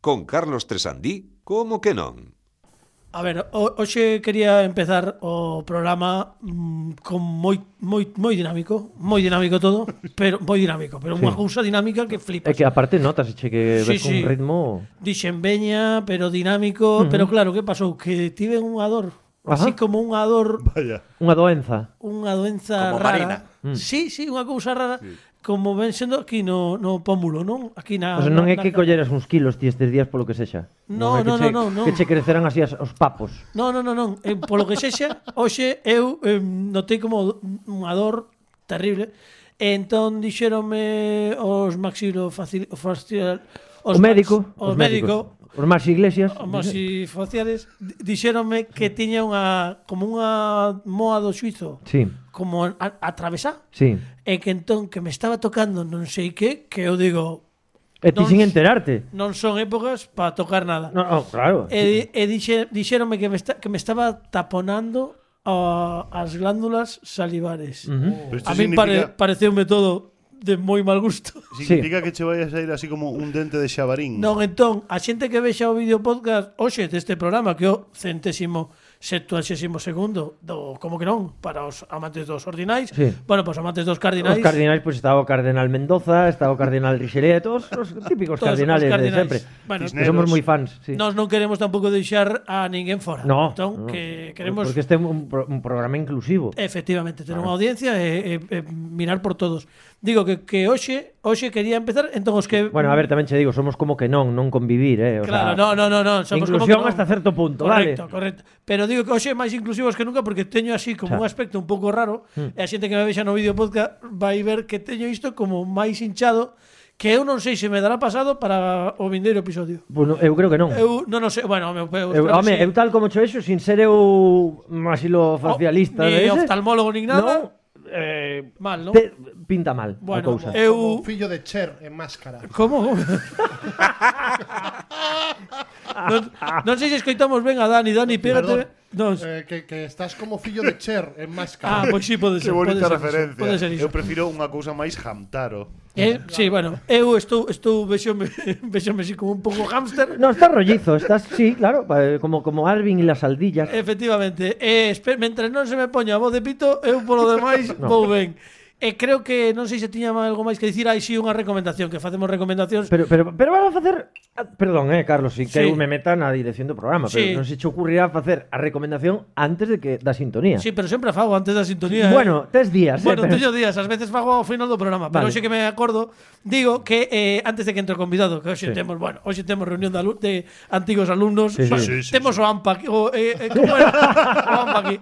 con Carlos Tresandí, como que non? A ver, ho- hoxe quería empezar o programa mm, con moi moi moi dinámico, moi dinámico todo, pero moi dinámico, pero unha cousa dinámica que flipas. É que aparte notas che que Sí, ves sí. un ritmo Dixen veña, pero dinámico, pero claro, que pasou? Que tive unha dor, Ajá. así como unha dor, Vaya. unha doenza. unha doenza Como rara. Marina. Mm. Sí, sí, unha cousa rara, como ven sendo aquí no no pómulo, non? Aquí na O sea, non na- é Ah, que na- colleras uns kilos ti estes días polo que sexa. No, Non é que no, che- no, no, no. Que che creceran así as, os papos. No, non, non, non. Eh, polo que sexa, hoxe eu eh, notei como unha dor terrible. E entón dixéronme os maxilofacial... Os o médico, Os, os médico, os Max Iglesias. faciales dixéronme que tiña unha como unha moa do suizo Sí, como a, atravesá sí. e que entón que me estaba tocando non sei que que eu digo E ti Non- sin enterarte. non son épocas para tocar nada No, no, claro. e, e dixe, dixéronme que me, esta, que me estaba taponando a, as glándulas salivares Ujú. Pero isto a mí pare, significa, pareceume todo de moi mal gusto significa que che vayas a ir así como un dente de xabarín. Non, entón, a xente que vexa o vídeo podcast hoxe deste programa que é o centésimo septuagésimo segundo do, como que non, para os amantes dos ordinais Sí. bueno, para os amantes dos cardinais Os cardinais, pois pues, estaba o cardenal Mendoza, estaba o cardenal Richelieu, todos os típicos Todos os cardinales, cardinais. de sempre. Bueno, Que somos moi fans, sí. nós non queremos tampouco deixar a ninguén fora no, entón, no. que queremos Porque este é un, pro- un programa inclusivo. Efectivamente, ter unha audiencia e, e, e mirar por todos. Digo que, que hoxe, hoxe quería empezar, entón os que... Bueno, a ver, tamén che digo, somos como que non, non convivir, eh, o Claro, sea, no, no, no, no. Somos como inclusión que non. hasta certo punto, correcto, vale. Correcto, Pero digo que hoxe é máis inclusivos que nunca porque teño así como Xa. Hmm. un aspecto un pouco raro e a xente que me vexa no vídeo podcast vai ver que teño isto como máis hinchado que eu non sei se me dará pasado para o vindeiro episodio. Bueno, eu creo que non. Eu non o sei, bueno, eu, eu, Eu, creo que home, sí. eu tal como cho eso, sin ser eu masilo facialista Oh, ni de ese, oftalmólogo nin nada. Non, eh, Mal, non? te, pinta mal a Bueno, cousa. eu Como fillo de Cher en máscara. Como? non, non sei se escoitamos ben a Dani, Dani, pégate. Perdón. Non. Eh, que, que estás como fillo de Cher en máscara. Ah, pois si sí, pode ser. Que bonita pode ser iso, referencia. Pode ser iso. Eu prefiro unha cousa máis hamtaro. Eh, sí, bueno, eu estou estou vexome vexome así como un pouco hámster. No, estás rollizo, estás, sí, claro, pa- como, como Alvin y las aldillas. Efectivamente. Eh, espe- mentre non se me poña a voz de pito, eu polo demais no. vou ben. E creo que non sei se tiña algo máis que dicir, hai si unha recomendación, que facemos recomendacións. Pero, pero, pero vas a facer ah, Perdón, eh, Carlos, si que Sí. eu me meta na dirección do programa Sí. Pero non se che ocurrirá facer a recomendación antes de que da sintonía Sí, pero sempre a fago antes da sintonía. eh. Bueno, tes días Bueno, eh, pero... teño días, ás veces fago ao final do programa, pero Vale. hoxe que me acordo, digo que eh, antes de que entre o convidado, que hoxe Sí. temos, bueno, hoxe temos reunión de, alu- de antigos alumnos, Sí, sí. bueno, Sí, sí, temos o AMPA aquí, o, eh, eh, como era? o AMPA aquí.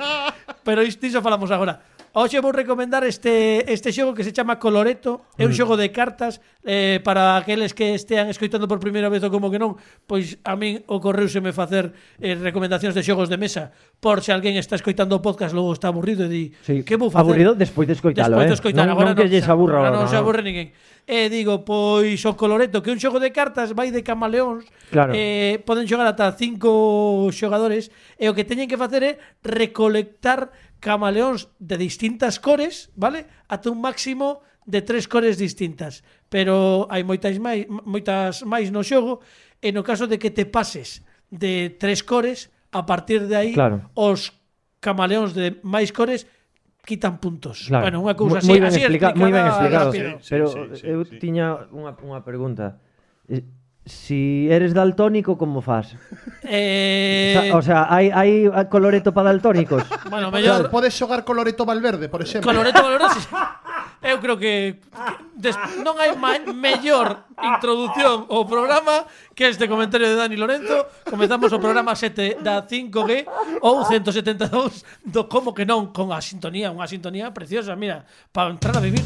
Pero isto iso falamos agora. Hoxe vou recomendar este este xogo que se chama Coloreto, é un xogo de cartas eh, para aqueles que estean escoitando por primeira vez ou como que non, pois a min ocorreuseme facer eh, recomendacións de xogos de mesa, por se alguén está escoitando o podcast logo está aburrido e di, Sí, que vou facer? aburrido despois de escoitalo, Despois de eh. escoitar, Non- agora non que lles xa- aburra agora ahora, non se no. aburre ninguén. E digo, pois o Coloreto, que é un xogo de cartas vai de camaleóns, Claro. eh, poden xogar ata cinco xogadores, e o que teñen que facer é recolectar camaleóns de distintas cores, vale? Ata un máximo de tres cores distintas. Pero hai moitas máis, moitas máis no xogo, e no caso de que te pases de tres cores, a partir de aí Claro. os camaleóns de máis cores quitan puntos. Claro. Bueno, unha cousa Mu- así, moi ben así explica- moi ben explicada explicado. rápido. Sí, sí, Pero eh, sí, sí, eu sí. tiña unha, unha pregunta. Eh, Si eres daltónico, como fas? Eh, Eh... O sea, hai, hai coloreto para daltónicos? bueno, Podes, mellor podes xogar Coloreto Valverde, por exemplo. Coloreto Valorosi. Eu creo que des, non hai ma- mellor introdución ao programa que este comentario de Dani Lorenzo. Comezamos o programa 7 da 5G ou 172 do como que non con a sintonía, unha sintonía preciosa, mira, para entrar a vivir.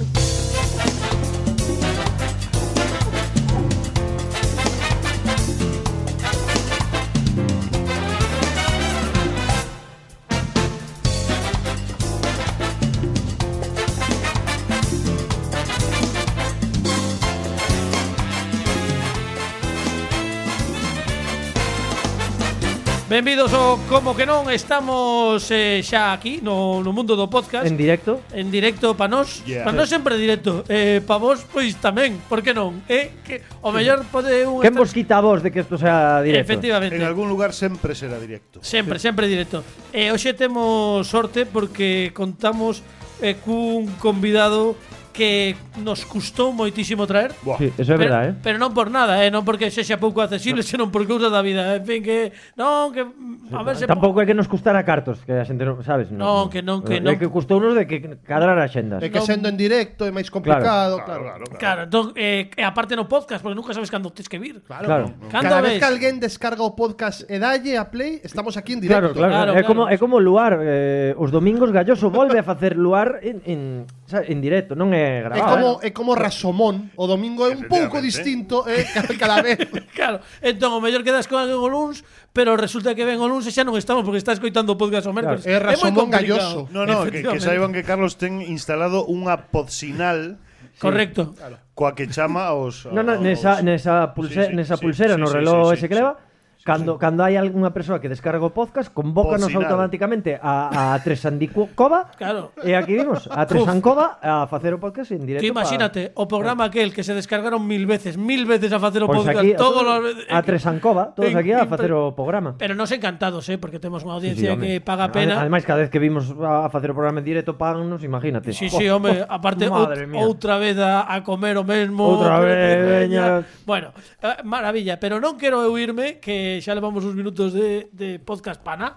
Benvidos ao Como que non estamos eh, xa aquí no, no mundo do podcast en, En directo. directo pa nós Yeah. Pa nós sempre directo eh, Pa vos pois tamén, por que non? Eh, que, o mellor pode un ¿Quién vos quita a vos de que esto sea directo? Efectivamente En algún lugar siempre será directo. Sempre, sempre directo. E hoxe temos sorte porque contamos eh, cun convidado que nos custou moitísimo traer. Buah. Sí, eso es verdad, ¿eh? pero, pero non por nada, eh, non porque sexa pouco accesible, senón por cousa da vida. En fin, que non, que mm, a ver se eh. Tampouco é que nos custara cartos, que a xente non, sabes? Non, que non, que non. É que custounos de que cadrar axendas. É eh, que sendo en directo é máis complicado, claro. claro. Claro, entón, eh, e aparte no podcast, porque nunca sabes cando tens que vir. Claro. Cando Cada ves? vez que alguén descarga o podcast e dalle a play, estamos aquí en Claro, directo. claro, Claro, claro. é como é como luar, eh, os domingos Galloso volve a facer luar en en, sabe, en directo, non é É grabado. como, é como Rasomón, o domingo é un Efectivamente. pouco distinto eh, cada, cada vez. Claro, entón o mellor quedas con alguén o luns, pero resulta que ven o luns e xa non estamos porque estás coitando o podcast o mércoles. Claro, é moi Rasomón complicado. Galloso. No, no, que, que Efectivamente. saiban que Carlos ten instalado unha podsinal Correcto. coa que chama aos... No, no, aos- nesa, nesa, pulse, Sí, sí, nesa sí, pulsera sí, no sí, reloj ese sí, sí, que leva, sí. cando, cando hai algunha persoa que descarga o podcast, convócanos Pocinal. automáticamente a, a Tresandicucova Claro. e aquí vimos, a Tresancova a facer o podcast en directo. Tú imagínate, o programa aquel que se descargaron mil veces, mil veces a facer o pa, pois podcast, aquí, a, todos los todos, veces. a Tresancova, todos en- aquí a en- facer o programa. Pero nos encantados, eh, porque temos unha Sí, sí, audiencia home. que paga Ade- pena. Ademais, cada vez que vimos a a facer o programa en directo, paganos, imagínate. Sí, Buah, sí, home, buah, aparte oh, madre ou- mía. outra vez a, a comer o mesmo. Outra vez, veña. Bueno, eh, maravilla, pero non quero eu irme que xa levamos uns minutos de, de podcast pana.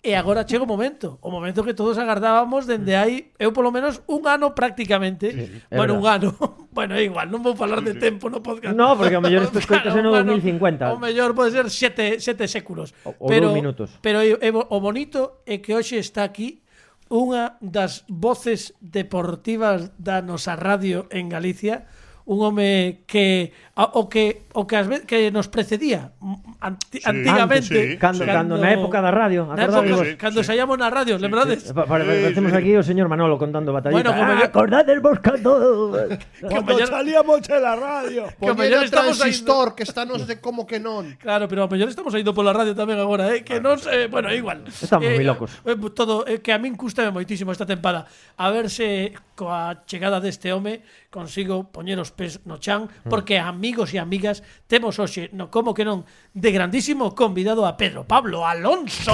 E agora chega o momento, o momento que todos agardábamos dende hai, eu polo menos, un ano prácticamente. é bueno, un verdad. ano. bueno, é igual, non vou falar de tempo no podcast. No, porque ao mellor estes coitas é no un ano, 2050. O mellor pode ser sete, sete séculos. O- ou dous minutos. Pero é- é bo- o bonito é que hoxe está aquí unha das voces deportivas da nosa radio en Galicia, un home que a- o que o que, as ve- que nos precedía mm, anti, antigamente, Antes, sí, Cando, sí. cando na época da radio, na acordades? época, Sí, sí, cando sí. saíamos na radio, lembrades? Eh, Pa- pa- Parecemos aquí o señor Manolo contando batallita. Bueno, pues como ah, yo- acordades vos cando... Cando mellor- salíamos de la radio. Que ao Poñer mellor o estamos transistor que está nos de como que non. Claro, pero a mellor estamos indo pola radio tamén agora, eh, que non eh, bueno, é igual. pues Estamos eh, moi locos. eh, todo eh, que a min custame moitísimo esta tempada. A ver se coa chegada deste home este consigo poñer os pés no chan, Mm. porque amigos e amigas temos hoxe, no como que non, de grandísimo convidado a Pedro Pablo Alonso.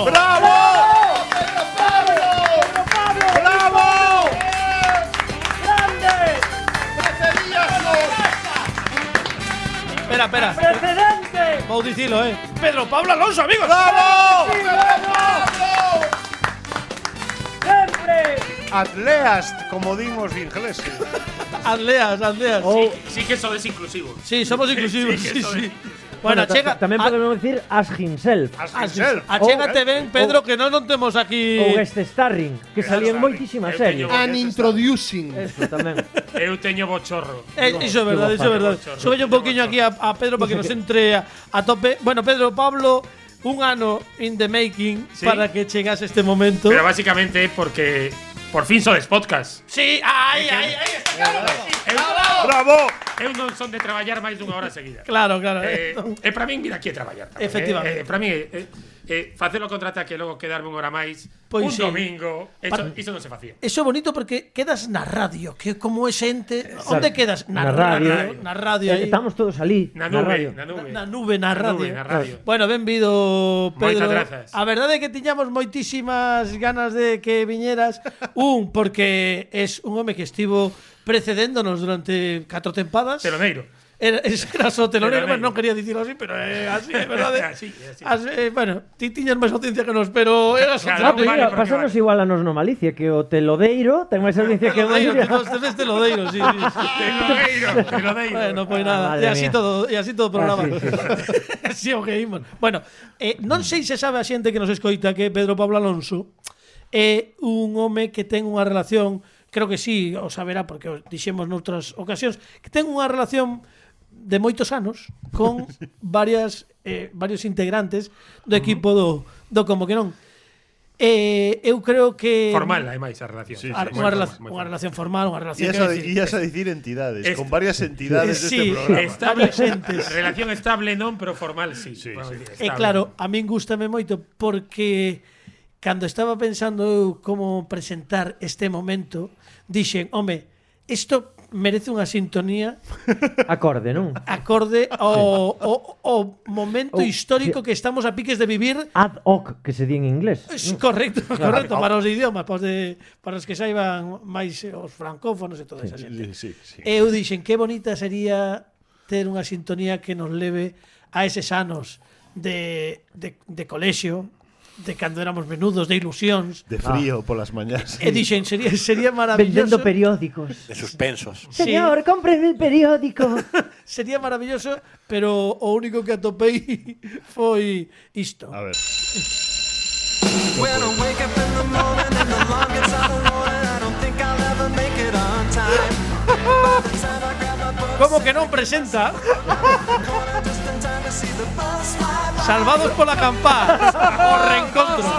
Espera, espera. ¡Precedente! Vou dicilo, eh. Pedro Pablo Alonso, amigos. ¡Bravo! Atleast, como din os ingleses. Atleas, atleas. Oh. Sí que sodes inclusivos. Sí, somos inclusivos, sí, sí. Bueno, Bueno, chega. chega, tamén a- podemos decir as himself. As Axel, himself. achégate Oh, ben, Pedro, que non non temos aquí... Ou este Starring, que salía en Starring. moitísimas Eu series. teño- An introducing. Eso tamén. Eu teño bochorro. Eh, iso é verdade, iso é verdade. Chorro, Súbelle un chorro, poquinho chorro. aquí a, a Pedro para que nos entre a, a tope. Bueno, Pedro, Pablo, un ano in the making Sí. para que chegase este momento. Pero básicamente porque por fin sodes podcast. Sí, ai, ai, ai, está claro. Eu, Bravo! eu non son de traballar máis dunha hora seguida. Claro, claro. Eh, entón, e para min vir aquí é traballar tamén, Efectivamente. Eh, eh, para min eh, eh, facer o contraataque e logo quedarme unha hora máis Pois un Pues sí. domingo, eso, Para- iso non se facía. Eso é bonito porque quedas na radio, que como é xente, onde quedas? Na radio. Eh, na radio aí. Estamos todos ali, Na na, nube, radio. Na, na nube. na nube, na Na radio. nube, na radio. Bueno, benvido, Pedro. Moitas grazas. A verdade é que tiñamos moitísimas ganas de que viñeras. Un, porque es un home que estivo precedéndonos durante catro tempadas. Teloneiro. Era, es- era só telonero, Teloneiro. pero non quería dicirlo así, pero é así, é verdade. Así, é así. As- eh, bueno, ti tiñas máis audiencia que nos, pero era só Ah, Claro, pues Vale, mira, porque pásanos vale. igual a nos no malicia, que o telodeiro ten máis audiencia que o teloneiro. Malicia. Teloneiro, tenes teloneiro, sí, sí, sí. Teloneiro, teloneiro. Ah. Bueno, pois Ah, nada, madre e así mía. todo, e así todo o programa. Ah, sí, Así o que imos. Bueno, eh, non sei se sabe a xente que nos escoita que Pedro Pablo Alonso é un home que ten unha relación, creo que sí, o saberá porque o dixemos noutras ocasións, que ten unha relación de moitos anos con varias eh, varios integrantes do equipo do, do como que non. eh, eu creo que Formal, ademais, a relación. Sí, sí, A- unha, sí. Moi rela- formal, moi unha formal. relación formal, unha relación Ias quero a, decir, ias a dicir entidades, Es- con varias entidades de Sí. este programa. Estable, Varios entes. relación estable non, pero formal sí. Sí, Vamos sí. a E decir, estable. claro, a min gustame moito porque cando estaba pensando eu como presentar este momento, dixen, home, isto merece unha sintonía Acorde, non? acorde ao, ao, ao momento Ou- histórico que estamos a piques de vivir. Ad hoc, que se di en inglés. Es correcto, correcto, para os idiomas, para os, de, para os que saiban máis eh, os francófonos e toda esa xente. Sí, sí, sí. Eu dixen que bonita sería ter unha sintonía que nos leve a eses anos de, de, de colexio, de cando éramos menudos, de ilusións. De frío por las mañanas. E dixen, sería, sería maravilloso. Vendendo periódicos. De suspensos. Sí. Señor, cómpreme el periódico. Sería maravilloso, pero o único que atopei foi isto. A ver. When I wake up in the morning and the alarm gets out of order, I don't think I'll ever make it on time. By the time I grab my books, Como que non I'm presenta just in time to see the bus fly by. Salvados pola campá O reencontro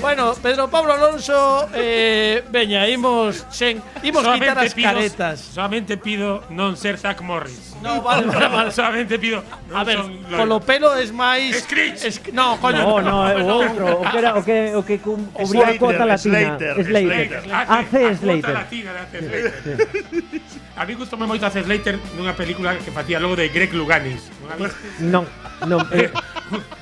Bueno, Pedro Pablo Alonso eh, Veña, imos sen, Imos quitar as pido- caretas Solamente pido non ser Zach Morris. No, vale, vale, vale. Solamente pido A non ver, son polo pelo es máis Screech. es, No, coño No, eh, oh. no, é o outro, o que era o que o que cum, obriga a Slater, cuota latina. Slater, Slater. Ah, Slater. Hace Slater. Slater. A mí gustoume moito hace Slater nunha película que facía logo de Greg Luganis. Non a Pues, viste? Non, non, eh,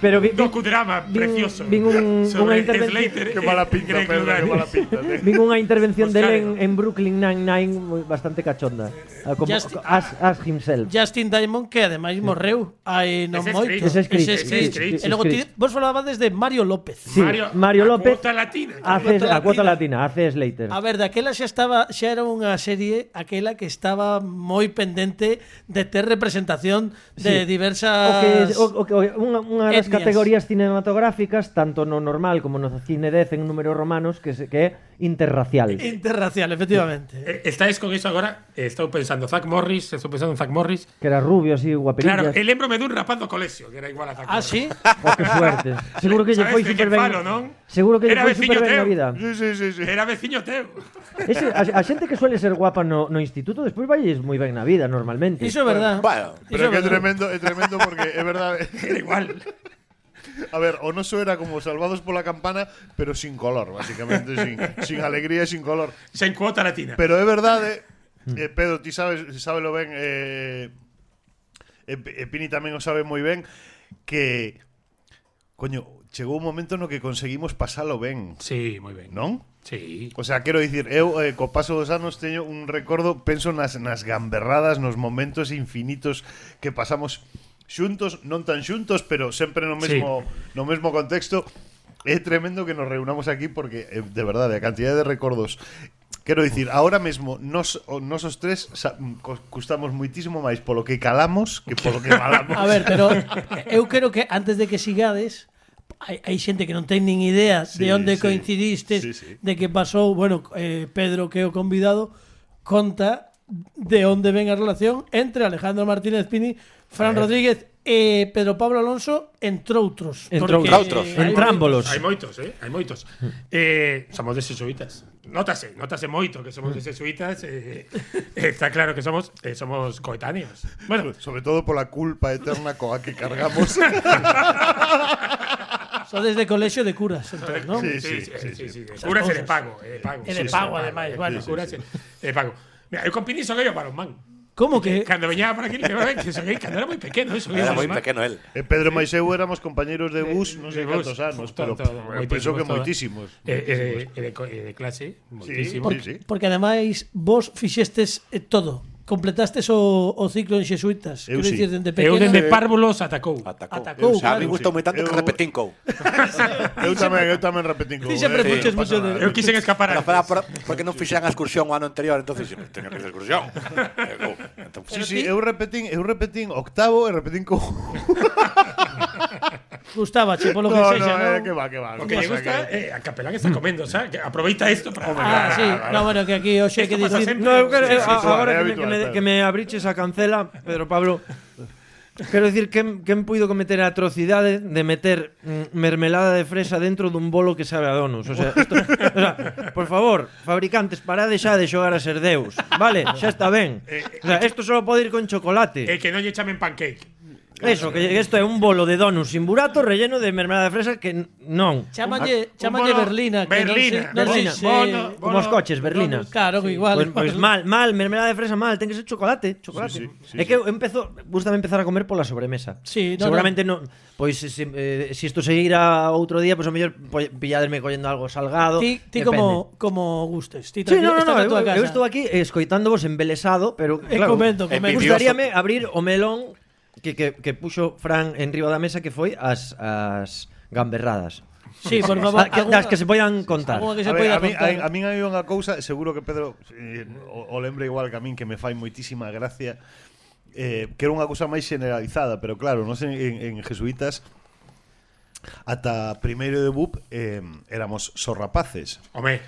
pero vi, Un vi, docudrama vin- precioso. vin un- unha sobre intervención- Slater Qué e mala pinta, Greg Pedro, qué Luganis. mala pinta. tío. vin unha intervención Buscar, dele en, ¿no? en Brooklyn Nine-Nine moi- bastante cachonda. Ah, Como, Just- as, as himself. Justin Diamond que ademais morreu Hai non Ese moito Screech. Ese Screech, Ese Screech. Screech. E logo ti, Screech. vos falabades de Mario López Sí, Mario a López cuota latina. Hace a cuota latina, hace Slater. A ver, daquela xa estaba xa era unha serie aquela que estaba moi pendente de ter representación de Sí. diversas O que, o, o que o- unha, unha Etnias. das categorías cinematográficas, tanto no normal como no cine 10 en números romanos, que, se, que é interracial. interracial, efectivamente. Eh, Estáis con eso agora? Eh, Estou pensando Zach Morris, estou pensando en Zach Morris. Que era rubio así, guapirillas. Claro, e lembrome dun rapaz do colexio, que era igual a Zach Ah, Morris. sí. Oh, que suerte. Seguro que lle Sabes foi de super que ben. falo, non? Seguro que lle Era foi veciño super ben teu. na vida. Sí, sí, sí, sí. Era veciño teu. Ese, a, a xente que suele ser guapa no, no instituto, despois valles moi ben na vida normalmente. Iso é verdad. Bueno, Iso é Pero é que é verdad. tremendo, é tremendo porque é verdade. Era igual. A ver, o noso era como Salvados pola Campana, pero sin color, basicamente, sin, sin alegría e sin color. Sen cuota latina. Pero é verdade, eh, Pedro, ti sabes, sábelo ben, eh, e, P- e Pini tamén o sabe moi ben, que, coño, chegou un momento no que conseguimos pasalo ben, Sí, moi ben. non? Sí. O sea, quero dicir, eu eh, co paso dos anos teño un recordo, penso nas, nas gamberradas, nos momentos infinitos que pasamos xuntos, non tan xuntos, pero sempre no Sí. mesmo, no mesmo contexto. É tremendo que nos reunamos aquí porque, eh, de verdade, a cantidad de recordos Quero dicir, ahora mesmo nos, o- nos os tres sa- mm, cos- custamos moitísimo máis polo que calamos que polo que falamos. A ver, pero eu creo que antes de que sigades hai, hai xente que non ten nin idea Sí, de onde sí. coincidiste, Sí, sí. de que pasou, bueno, eh, Pedro que é o convidado conta de onde ven a relación entre Alejandro Martínez Pini, Fran Rodríguez e Pedro Pablo Alonso entre outros. Entre porque outros. hai- Entrámbolos. Hai moitos, eh? Hai moitos. Eh, somos de sesuitas. Nótase, nótase moito que somos de sesuitas. Eh, está claro que somos eh, somos coetáneos. Bueno, Sobre todo pola culpa eterna coa que cargamos. Sodes de colexio de curas, entón, non? Sí, sí, sí, sí, sí, sí, sí, sí. sí. Curas e de pago, e de pago. E de Sí, sí, pago, ademais, eh, bueno. Curas e e de pago. Mira, eu con Pini son ellos para un man. Como que Cando veñaba por aquí, que son ellos, cando era moi pequeno, eso era muy pequeño él. E Pedro máis eu éramos compañeiros de bus, non sei de bus, cantos anos, pero todo, todo, pff, penso que moitísimos. moitísimos, Eh, eh, e de, co- e de clase, moitísimo. Por- sí. porque ademais vos fixestes eh, todo. Completastes o, o ciclo en xesuitas. Eu Quero sí. dicir, dende Eu pequeno. dende párvulos atacou. Atacó. Atacou, O sea, claro. a mí me gustó muy tanto que Eu- repetín con. Eu tamén, eu tamén repetín con. Ti sempre Sí, fuches no mucho de... Eu quixen escapar Pero antes. para, para, porque non fixeran a excursión o ano anterior, entonces dixen, teño que ir de excursión. E eu, entón, Sí, sí, sí, eu repetín, eu repetín octavo e repetín con. Gustaba, che, polo No, que no, sexa, eh, non? que va, que va. Lo que me pasa gusta, que- eh, a Capelán está comiendo, o sea, que aproveita esto para. Ah, sí. No, bueno, que aquí hoxe hai Esto que pasa dicir... sempre. No, eu quero, Sí, eh, sí, a- habitual, agora é que me, que, habitual, me, claro. que me abriches a cancela, Pedro Pablo, Quero dicir que que me puido cometer a atrocidade de meter mm, mermelada de fresa dentro dun bolo que sabe a donos, o sea, esto, o sea, por favor, fabricantes, parade xa de xogar a ser deus, vale? Xa está ben. Eh, O sea, isto só pode ir con Eh, chocolate. que no lle chamen pancake. Eso, que isto é un bolo de donuts sin burato relleno de mermelada de fresa que n- non. Chámalle, un chámalle bono- Berlina. que non sei- Berlina, Berlina. non sei Bono, se- bono. Como os coches, Berlina. Claro, igual. Pois, pois Pues, mal, mal, mermelada de fresa mal, ten que ser chocolate, chocolate. Sí, sí, sí, é que sí. eu empezo, gustame empezar a comer pola sobremesa. Sí, no, Seguramente non, pois se se, eh, si isto seguira outro día, pues pois o mellor po- pilladerme collendo algo salgado. Ti, ti depende. como, como gustes. Ti Sí, tranquilo, no, no, no, estás na tua eu, eu casa. estou aquí escoitándovos embelesado, pero E claro, comendo, comendo. envidioso. gustaríame abrir o melón que, que, que puxo Fran en riba da mesa que foi as, as gamberradas. Sí, por favor. Ah, que- das que se poidan contar. Alguna que se A, ver, poida a, mí, contar. a, a min hai unha cousa, seguro que Pedro eh, o, o lembra igual que a min que me fai moitísima gracia eh, que era unha cousa máis generalizada, pero claro, non sei en, en jesuitas ata primeiro de BUP eh, éramos sorrapaces. Hombre,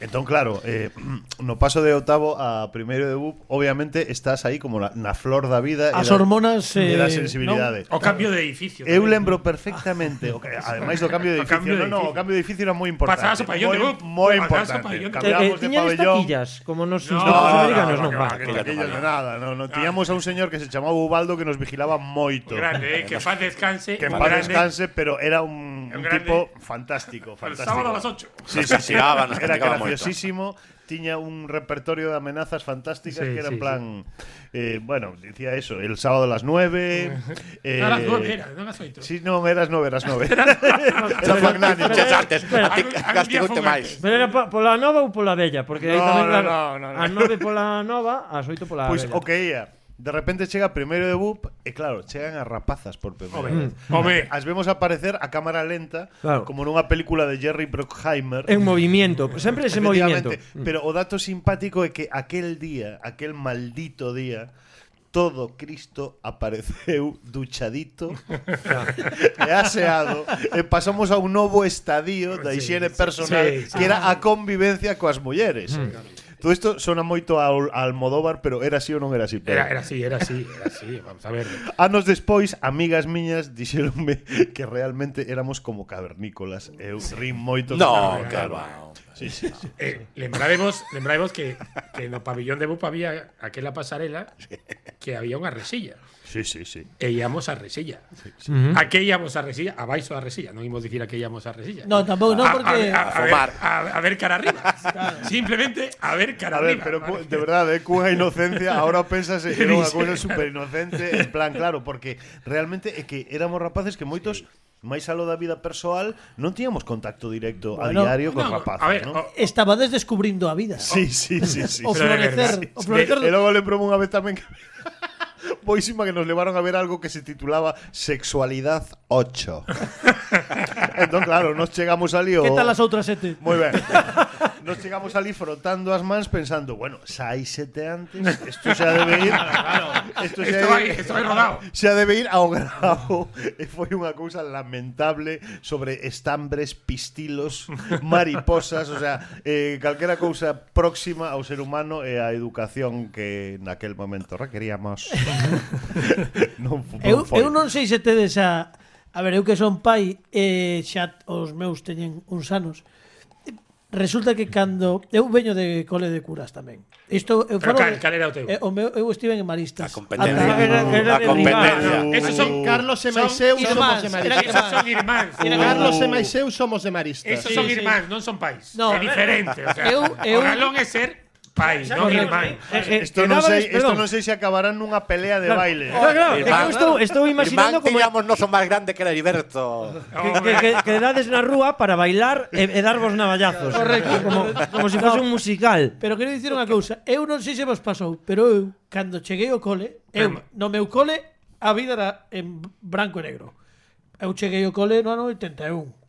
Entón, claro, eh, no paso de octavo a primeiro de BUP, obviamente estás aí como na, na flor da vida As e da- hormonas, e da eh, sensibilidade. o cambio de edificio. Eu tamén. lembro perfectamente, o, ca- ademais do cambio de O cambio edificio, no, de no, o edificio. cambio de edificio era moi importante. Pasabas ao pabellón de moi- Bup, moi pasabas ao importante. pabellón de Eh, Bup. Cambiábamos de tiñades pabellón. taquillas, como nos No, institutos no, americanos, no, non no, va. no, Que Ah. Aquella aquello tomada. de nada, no, no. Tiñamos a un señor que se chamaba Ubaldo que nos vigilaba moito. Grande, eh, que paz descanse. Que en un paz grande. descanse, pero era un, Un un grande. tipo fantástico, El fantástico. sábado a las 8. Sí, Nos sí, sí. castigaba, nos Era castigaba moito. graciosísimo, tiña un repertorio de amenazas fantásticas Sí, que era sí, en plan eh, bueno, decía eso, el sábado a las 9, eh, a las 9 era, no a las 8. Sí, no, eras nove, eras nove. Era magnánimo. Muchas artes. Espera, A ti algún- algún día castigote fue máis. Pero era pa- pola nova ou pola bella? Porque aí No, tamén, no, claro, no, no, no. as nove pola nova, as oito Ah, pola Pois bella. o que ía. Pues, De repente chega primeiro de BUP e claro, chegan as rapazas por primeira vez. Hombre, As vemos aparecer a cámara lenta Claro. como nunha película de Jerry Bruckheimer. En movimiento, sempre ese movimiento. Efectivamente. Mm. Pero o dato simpático é que aquel día, aquel maldito día, todo Cristo apareceu duchadito e aseado e pasamos a un novo estadio da higiene personal sí, sí. Mm. que era a convivencia coas mulleres. Todo isto sona moito ao, a Almodóvar, pero era así ou non era así? Pedro? era, era así, era así, era así. Vamos a ver. Anos despois, amigas miñas dixeronme que realmente éramos como cavernícolas. Eu rin moito. No, Claro. que va. Sí, sí, sí. Eh, lembraremos, lembraremos que, que no pabellón de Bupa había aquella pasarela que había una resilla. Sí, sí, sí. E íamos a resilla. ¿A qué íamos a resilla? A Baiso a resilla. No íbamos a decir a qué íbamos a resilla. No, tampouco, no, A- a- porque... A, a ver- fumar. a- a ver cara arriba. Simplemente a ver cara A ver, arriba. pero cu- ¿vale? de verdad, eh, cunha inocencia, ahora pensas en unha dice? cousa super inocente, en plan, claro, porque realmente é que éramos rapaces que moitos máis aló da vida persoal non tiñamos contacto directo a Bueno, diario con No, rapaces, a ver, ¿no? o- Estabades descubrindo a vida. Sí, sí, sí, sí. o pero de florecer, verdad. o florecer E logo lembrome unha vez tamén que Boísima que nos levaron a ver algo que se titulaba Sexualidad 8. entón, claro, nos chegamos ali o... ¿Qué tal las otras sete? Moi ben. Nos chegamos ali frotando as mans pensando, bueno, xa hai sete antes, isto xa debe ir... Isto xa, Esto va, debe- esto va rodado. xa debe ir ao grao. E foi unha cousa lamentable sobre estambres, pistilos, mariposas, o sea, eh, calquera cousa próxima ao ser humano e á educación que naquel momento requeríamos. non, fu- non Eu, foi. eu non sei se tedes a... A ver, eu que son pai, eh, xa os meus teñen uns anos. Resulta que cando... Eu veño de cole de curas tamén. Isto, eu falo Pero cal- de- cal era o teu? eh, o meu, eu estive en Maristas. A competencia. Ata- Era- era A de competencia. No, no, esos son Carlos son Semaiseu irmáns, somos era de Maristas. que- Esos son irmáns. eh. Era que- Carlos Semaiseu somos de Maristas. Esos Sí, son sí. irmáns, non son pais. No, é diferente. O sea, eu- eu- o galón é ser pai, non irmán. Eh, eh, Isto non quedabas- sei, isto perdón. non sei se acabarán nunha pelea de baile. Claro, claro, é que Irmán- eu estou, estou imaginando Irmán, como digamos, no son máis grande que era Heriberto. que, que, que, que dades na rúa para bailar e, e darvos navallazos. Correcto, como, correcto. como se fose un musical. Pero quero dicir unha cousa, eu non sei se vos pasou, pero eu cando cheguei ao cole, eu Pero- no meu cole a vida era en branco e negro. Eu cheguei ao cole no ano 81,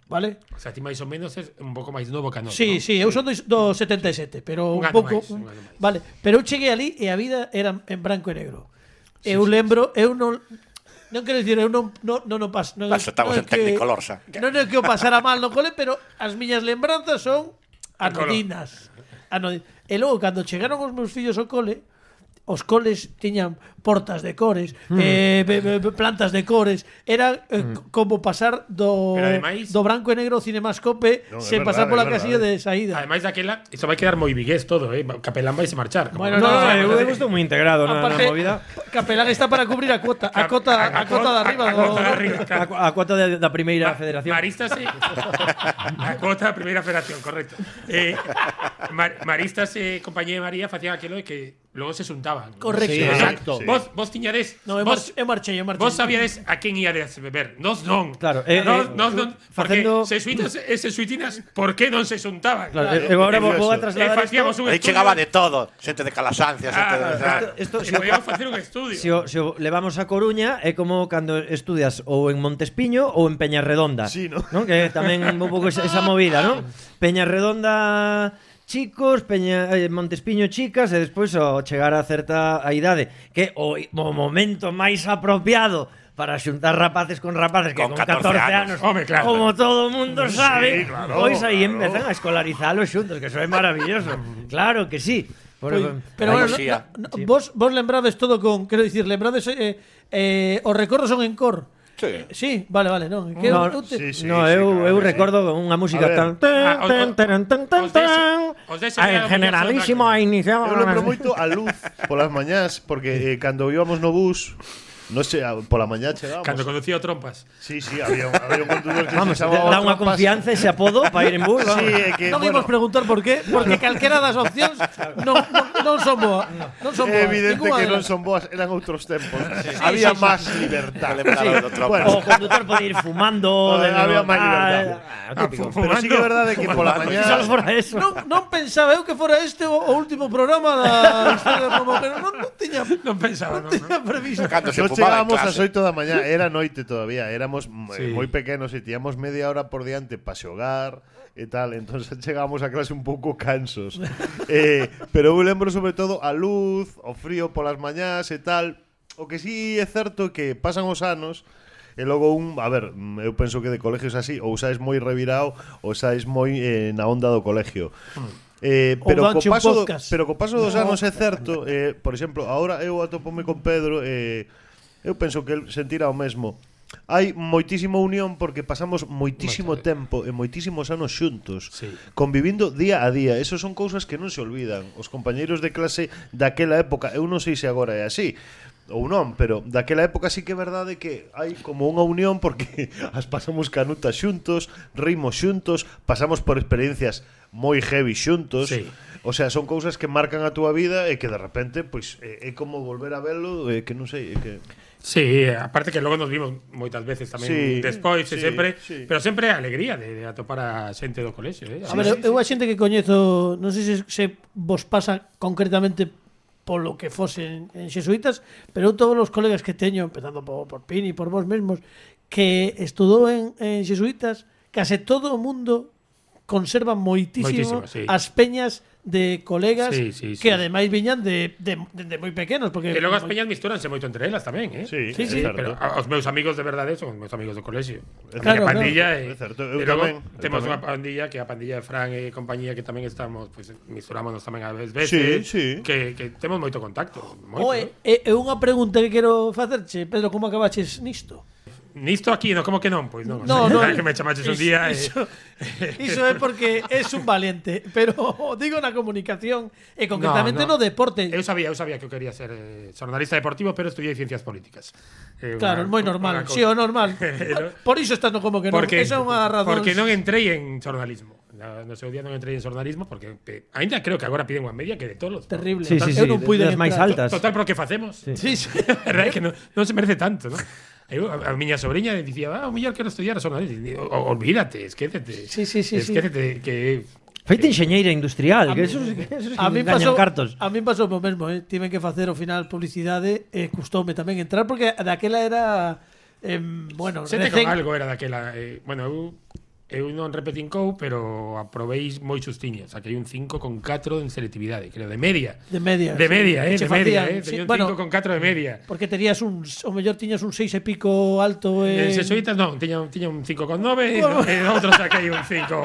vale? O sea, ti máis ou menos é un pouco máis novo que a nós. Sí, non? sí, eu son do, do 77, pero un Un ano pouco, máis, un ano máis. vale, pero eu cheguei ali e a vida era en branco e negro. Eu lembro, eu non non quero dicir, eu non non non, non pas, non, Paso, estamos non é en Technicolor, xa. Non é que o pasara mal no cole, pero as miñas lembranzas son color. anodinas. Anodinas. E logo cando chegaron os meus fillos ao cole, os coles tiñan portas de cores, Hmm. eh, be- be- be- plantas de cores, era eh, c- como pasar do Pero ademais- do branco e negro cinemascope No, es sen verdad, pasar pola es verdad, casilla eh. de saída. Además de aquella, eso va a quedar muy vigués todo, ¿eh? Capelán vais a marchar. como- Bueno, No, no, no, eh, eu no, eu estou moi integrado na, na Aparte, movida. Capelán está para cubrir a cuota, a cota, a, cota de arriba. A, do- cota de arriba. A, cu- a cuota de- da Primeira Ma- Federación. Marista sí. a cota da Primeira Federación, correcto. Eh, Mar- Maristas e compañía de María facían aquilo de que luego se xuntaban. Correcto. Sí, O sea, exacto. Vos, vos tiñades... No, eu, mar, vos, eu marchei, eu marchei. vos sabíades a quen íades beber. Nos non. Claro, eh, nos, eh, nos non. Porque facendo- sesuitas e sesuitinas, por que non se xuntaban? Claro, eu- eu agora vou, vou a Eh, trasladar isto. facíamos un Aí estudio. chegaba de todo. Xente de Calasancia, xente de... Ah, Esto- esto- e podíamos facer un estudio. Se o, se o levamos a Coruña é como cando estudias ou en Montespiño ou en Peñarredonda. Sí, ¿no? non? Que tamén un pouco esa, esa movida, non? Peñarredonda chicos, Peña, eh, Montespiño chicas e despois ao chegar a certa a idade que é o, i- o momento máis apropiado para xuntar rapaces con rapaces que con, Con 14 anos, anos, home, claro. como todo o mundo sabe, claro, pois aí claro. empezan a escolarizarlos xuntos, que eso é maravilloso. claro que sí. Por, Pois, Pues, pero Ay, bueno, no- Xía. no- no- vos, vos lembrades todo con, quero dicir, lembrades eh, eh, os recordos son en cor. Sí. Sí, vale, vale, non. é Que No, eu- eu te- sí, sí. no, eu, claro eu que sí. recordo unha música A ver. tan... Ah, os- tan, tan, tan, tan, os dese- tan. os dese Ah, era en generalísimo a outra cousa. iniciar... Eu lembro moito a luz polas mañás porque eh, cando íbamos no bus, non sei, a- pola mañá chegábamos. Cando conducía o trompas. Sí, sí, había un, había un conductor que Vamos, se chamaba dá unha Trompas. confianza ese apodo para ir en bus. Sí, eh, vamos. é que non bueno, imos preguntar por qué, porque calquera das opcións non, non, non son boa. Non son boa. é evidente ninguna que non delas. son boas, eran outros tempos. había sí, sí. máis libertad. Lembraron do trompa. O conductor pode ir fumando... Joder, de- había máis Ah, libertad. ah, típico. pues, Pero sí que é verdade que pola mañá Solo fora eso. Non, non pensaba eu que fora este o, o último programa da historia como, pero non, non tiña, non Non pensaba, non, non. tiña previsto. Cando se No fumaba en llegábamos a las clase. 8 de la mañana, era noche todavía, éramos mm, eh, Sí. muy pequeños y teníamos media hora por diante para xogar y tal, entonces llegábamos a clase un poco cansos. Eh, pero eu lembro sobre todo a luz, o frío por las mañanas y tal, o que sí es cierto que pasan os anos E logo un, a ver, mm, eu penso que de colegios así, ou saes moi revirao, ou saes moi eh, na onda do colegio. Hmm. Eh, Ou pero, co danche un paso do, podcast. pero co paso dos anos é certo, eh, por exemplo, agora eu atopome con Pedro, eh, eu penso que el sentirá o mesmo. Hai moitísima unión porque pasamos moitísimo tempo e moitísimos anos xuntos Sí. convivindo día a día. Eso son cousas que non se olvidan. Os compañeiros de clase daquela época, eu non sei se agora é así ou non, pero daquela época sí que é verdade que hai como unha unión porque as pasamos canutas xuntos, rimos xuntos, pasamos por experiencias moi heavy xuntos. Sí. O sea, son cousas que marcan a túa vida e que de repente pois é, é como volver a velo, é que non sei, é que Sí, aparte que logo nos vimos moitas veces tamén Sí, despois sí, e sempre, sí. pero sempre a alegría de, de atopar a xente do colexio, eh. A ver, eu- eu a xente que coñezo, non sei se, se vos pasa concretamente polo que fosen en xesuitas, pero eu todos os colegas que teño, empezando por, por Pini, por vos mesmos, que estudou en, en xesuitas, case todo o mundo conserva moitísimo, Moitísimo, sí. as peñas de colegas Sí, sí, sí. que ademais viñan de, de, de, de moi pequenos. Porque E logo as peñas mistúranse moito entre elas tamén, eh. Sí, Sí, é sí. certo. Pero a- os meus amigos de verdade son os meus amigos do colexio. Claro, a pandilla claro. É e, certo, eu e logo tamén, eu temos tamén. unha pandilla que é a pandilla de Fran e compañía que tamén estamos, pois pues, misturámonos tamén a veces, Sí, sí. que que temos moito contacto, moito. Oe, eh. é, é unha pregunta que quero facerche, Pedro, como acabaches nisto? Nisto aquí, no como que non, pois non. No, no. que me chamaches un Iso- día e iso- Iso é porque es un valiente, pero digo na comunicación e concretamente no, No, no. deporte. Eu sabía, eu sabía que eu quería ser eh, xornalista deportivo, pero estudiei ciencias políticas. Eh, claro, unha- moi unha normal, cousa. si o normal. Pero- Por iso estás no como que non. porque, Esa é unha razón. Porque non entrei en xornalismo. Na- No seu día non entrei en xornalismo porque pe, ainda creo que agora piden unha media que de tolos. terrible. Sí, sí, sí, eu non pude das máis entrar. altas. Total, pero que facemos? Sí, sí. verdad é que non, non se merece tanto, non? Eu, a, a miña sobrinha dicía, ah, o mellor quero estudiar a xornalismo. Digo, "O- Olvídate, esquécete. Sí, sí, sí, sí. Esquécete que... Feito enxeñeira A industrial, mí- que eso, eso A mí engañan pasou, cartos. a mí pasou o mesmo, eh. Tive que facer ao final publicidade e custoume tamén entrar porque daquela era eh, bueno, Sete recén- con algo era daquela. Eh, bueno, eu, eu non repetín cou, pero aproveis moi xustiño. Saquei un 5 con 4 en selectividade, creo, de media. De media, De sí. media, eh, Se de media, facían, eh. sí, Teño un bueno. 5 con 4 de media. porque tenías un, o mellor tiñas un 6 e pico alto En e sesuitas non, Eh, tiña, tiña un 5 con 9 e en outro saquei un 5,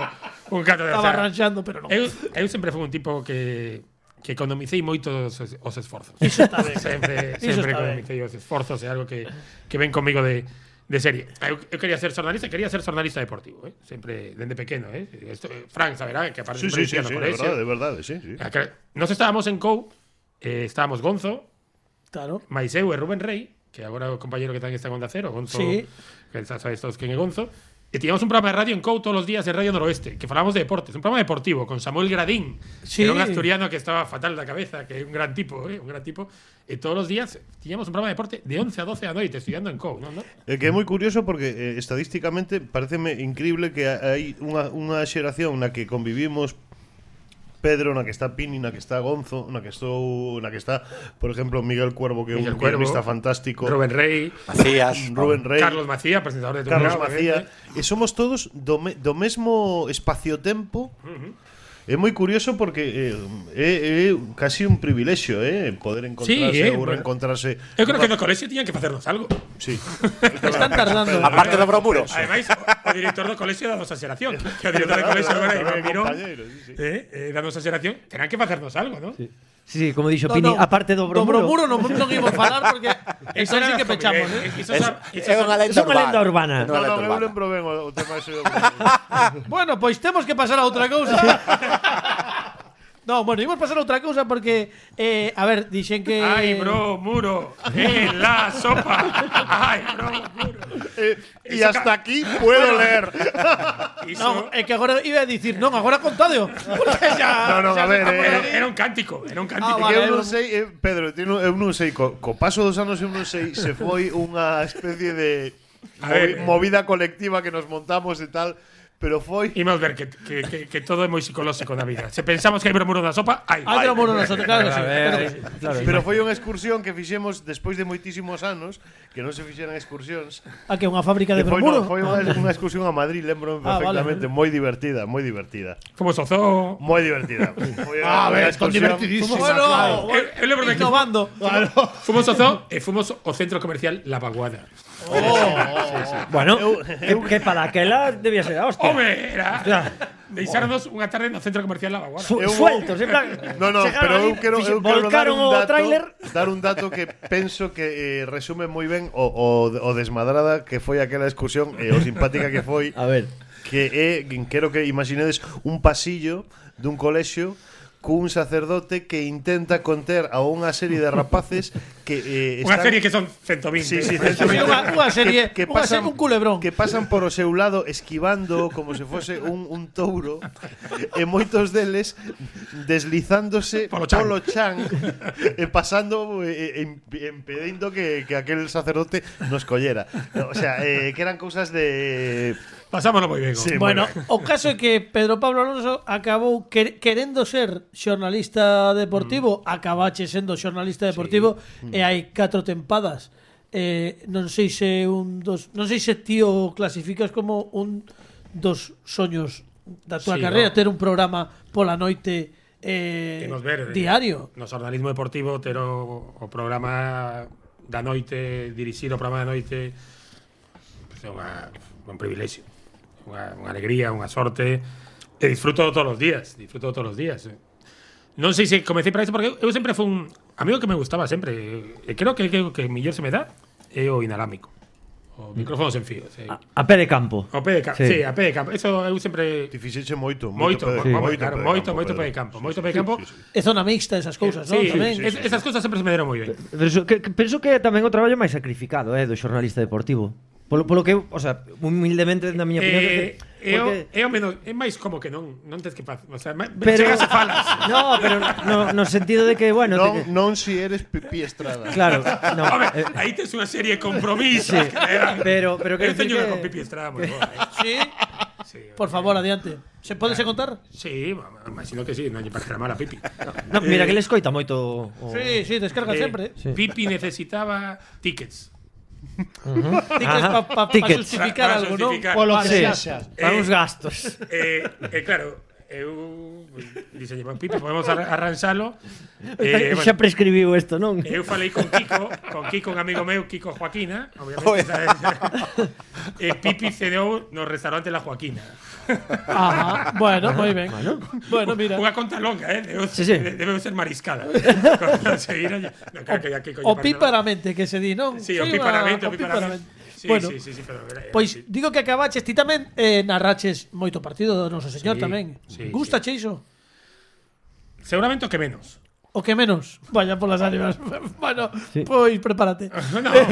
un 4 de estaba ranchando, pero non. Eu, eu sempre fui un tipo que que economicei moito os, es- os esforzos. Iso está ben. Sempre, Iso sempre está economicei os esforzos, é algo que, que ven comigo de, de serie. Eu, eu quería ser xornalista, quería ser xornalista deportivo, eh? sempre dende pequeno, eh? Esto, eh, Fran, saberá que aparte Sí, sí, sí, provinciano sí, de por eso. verdad, de verdad, sí, sí. Ah, claro. Nos estábamos en COU, eh, estábamos Gonzo, Claro. máis eu e Rubén Rey, que agora é o compañeiro que tamén está en Onda Cero, Gonzo, Sí. que xa sabes todos quen é Gonzo, e tiñamos un programa de radio en COU todos os días en Radio Noroeste, que falábamos de deportes, un programa deportivo con Samuel Gradín, Sí. que era un asturiano que estaba fatal da cabeza, que é un gran tipo, eh, un gran tipo, e todos os días tiñamos un programa de deporte de 11 a 12 da noite estudiando en COU, non? non? Eh, que é moi curioso porque eh, estadísticamente pareceme incrible que ha- hai unha, unha xeración na que convivimos Pedro, na que está Pini, na que está Gonzo, na que estou, na que está, por exemplo, Miguel Cuervo, que é un Miguel Cuervo, guionista fantástico, Rubén Rey, Macías. Rubén Rey, Carlos Macía, presentador de tu Carlos programa, Macía, obviamente. e somos todos do, me, do mesmo espacio-tempo. É moi curioso porque eh, é, é casi un privilexio, eh, poder encontrarse eh, ou bueno. reencontrarse. Eu creo que no colexio tiñan que facernos algo. Sí. Están tardando. eh. Aparte do bromuro. Ademais, o, o director do colexio danos a xeración. Que o director do colexio agora é Iván Mirón. Compañeros, sí, sí. Eh, eh, danos a xeración. Terán que facernos algo, non? Sí. Sí, sí, como dixo Pini, aparte do Dobro bromuro. muro non non imos falar porque eso sí que pechamos, eh. Iso Es, son, iso é unha son, lenda son unha urbana. lenda urbana. É No, unha no, lenda eu urbana. lembro ben o, o tema ese. do- Bueno, pois temos que pasar a outra cousa. No, bueno, imos pasar a outra cousa porque eh, a ver, dixen que Ai, bro, muro. En la sopa. Ai, bro, muro. Eh, y Eso hasta ca- aquí puedo leer. Iso, No, é que agora iba a dicir, non, agora contadeo. Porque xa, No, no, xa a se ver, está por eh, era, aí. era un cántico, era un cántico. Ah, Que vale. eu eu- non sei, eh, Pedro, ti non- eu non sei, co, co paso dos anos eu non sei se foi unha especie de A movi- ver, eh. movida colectiva que nos montamos e tal, pero foi Imos ver que, que, que, que todo é moi psicolóxico na vida. Se pensamos que hai bro, muro na sopa, hai. Hai outro muro nosotros, claro que sí. A claro que ver, sí. claro, Pero foi unha excursión que fixemos despois de moitísimos anos, que non se fixeran excursións. Ah, que é unha fábrica de Que foi, no, bromuro. foi unha, unha excursión a Madrid, lembro Ah, vale, perfectamente, moi divertida, moi divertida. Como sozó. Moi divertida. Foi Ah, a unha ver, con excursión- divertidísimo. Bueno, Eu- eu lembro de que- innovando. Fomos ao zoo e fomos ao centro comercial La Vaguada. Bueno, que, que para aquela debía ser a hostia. Home, era. Deixáronos unha tarde no centro comercial La Vaguada. Su- Eu- sueltos, en plan. No, no, chegaron pero eu ali, quero, fixen- eu quero dar volcaron un o tráiler. dato, dar un dato que penso que eh, resume moi ben o, o, o desmadrada que foi aquela excursión e o simpática que foi A ver. que é, quero que imaginedes un pasillo dun colexio cun sacerdote que intenta conter a unha serie de rapaces que eh, están- Unha serie que son 120. Sí, sí, Pero- Sí, unha- unha serie, unha serie, un culebrón. Que pasan por o seu lado esquivando como se fose un, un touro e moitos deles deslizándose Polo chan. polo chan e pasando e, e, e impedindo que, que aquel sacerdote nos collera. O sea, eh, que eran cousas de... Pasámoslo moi ben. Sí, Bueno, moi ben. o caso é que Pedro Pablo Alonso acabou quer- querendo ser xornalista Mm. deportivo, acabache sendo xornalista deportivo e hai catro tempadas. Eh, non sei se un dos, non sei se ti o clasificas como un dos soños da túa Sí, carreira, no. ter un programa pola noite eh, Imos ver, eh, diario. No xornalismo deportivo ter o, o programa da noite, dirixir o programa da noite pues, é unha, un privilexio, unha, unha alegría, unha sorte. E disfruto todos os días, disfruto todos os días. Eh. Non sei se comecei para isto porque eu, eu sempre fui un amigo que me gustaba sempre. E creo que que, que mellor se me dá é o inalámbrico. O micrófono sen fío. Sí. A pé de campo. O pé de campo, Sí. sí. a pé de campo. Eso eu sempre Ti fixeche moito, Moito, pé de- mo- moito, claro, pé de moito, campo, moito Pedro. pé de campo, Sí, moito sí, pé de sí, campo. sí, sí. É zona mixta esas cousas, non? Eh, Sí, Tamén. sí, es- esas cousas sempre se me deron moi ben. Pero so- que, que, penso que é tamén o traballo máis sacrificado, eh, do xornalista deportivo. Polo, polo que, eu, o sea, humildemente na miña opinión, Eh, que, é, o, porque, é o menos, é máis como que non, non tes que facer, o sea, máis, Pero- chegas e falas. No, pero no, no sentido de que, bueno, de Non, que, non si eres Pipí Estrada. claro, no. Home, eh, aí tes unha serie de compromisos. Sí, que me dan. pero- pero quero eu decir teño unha que- con Pipi Estrada moi boa. eh. Sí, Sí, por favor, adiante. Se pode se contar? Sí, ma- imagino que sí, non lle parecerá mal a Pipi. no, mira que le escoita moito o, Sí, sí, descarga sempre. eh. eh. sí. Eh, Pipi necesitaba tickets. Tickets Ajá. para pa, pa Tickets. justificar Para algo, non? justificar. Polo Sí. que xa xa. para uns gastos. Eh, eh, claro, eu dixenlle, "Bueno, Pipe, podemos ar arranxalo. Eh, Eh, bueno. Xa bueno, prescribiu isto, non? eu falei con Kiko, con Kiko, un amigo meu, Kiko Joaquina, obviamente, sabes? e Pipi cedeou no restaurante La Joaquina. Ajá. Bueno, moi ben. Bueno, mira. Unha conta longa, eh? Debeu, Sí, sí. de- debeu ser mariscada. Seguir allí. No, claro que ya Kiko O lle pi parece- para mente que se di, non? Sí, o Soy pi unha- para mente, o o pi pi para para mente. mente. Sí, Bueno, pues- sí, sí, sí, pero era- Pois sí. digo que acabaches ti tamén eh, narraches moito partido do noso señor Sí, tamén. sí, Gusta che iso? Seguramente o que menos. O que menos. Vaya polas ánimas. bueno, Sí. pois prepárate. No, é,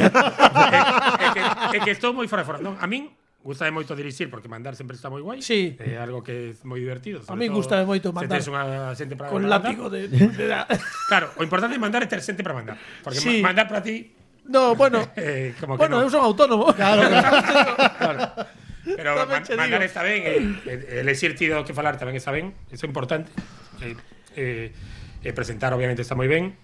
que, é que estou moi fora de fora. Non, a min gustame moito dirixir porque mandar sempre está moi guai. Sí. É algo que é moi divertido. sobre A min todo gustame moito mandar. Se tes unha xente para Con para látigo mandar. de, de la- Claro, o importante é mandar é ter xente para mandar. Porque Sí. ma- mandar para ti No, bueno. eh, como que Bueno, eu non. son autónomo. Claro, Pero Tamén man- che mandar digo. está ben, eh, eh, elexir ti do que falar tamén está ben, iso é importante. Eh, eh, eh, presentar obviamente está moi ben.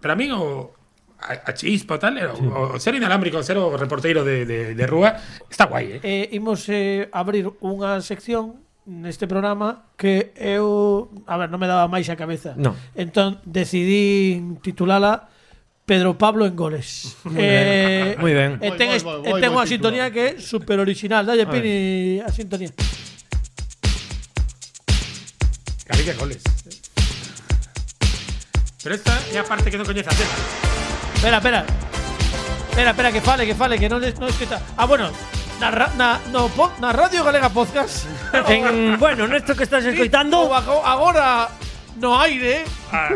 Pero a mí o a, a chispa o tal, era, o, o ser inalámbrico, ser o reporteiro de, de, de rúa, está guai, eh. eh, imos eh, abrir unha sección neste programa que eu, a ver, non me daba máis a cabeza. Non. Entón decidí titulala Pedro Pablo en goles. eh, Moi ben. E Moi, ten, moi, est- moi, e moi ten bo unha sintonía que é super original. Dalle Pini a sintonía. Cabilla goles. Pero esta é a parte que non coñece a tema. Espera, espera. Espera, espera, que fale, que fale, que non es, non es que está. Ah, bueno, na, ra- na, no, po- na Radio Galega Podcast. En, bueno, nesto que estás O escoitando, bajo- Agora no aire, Ah,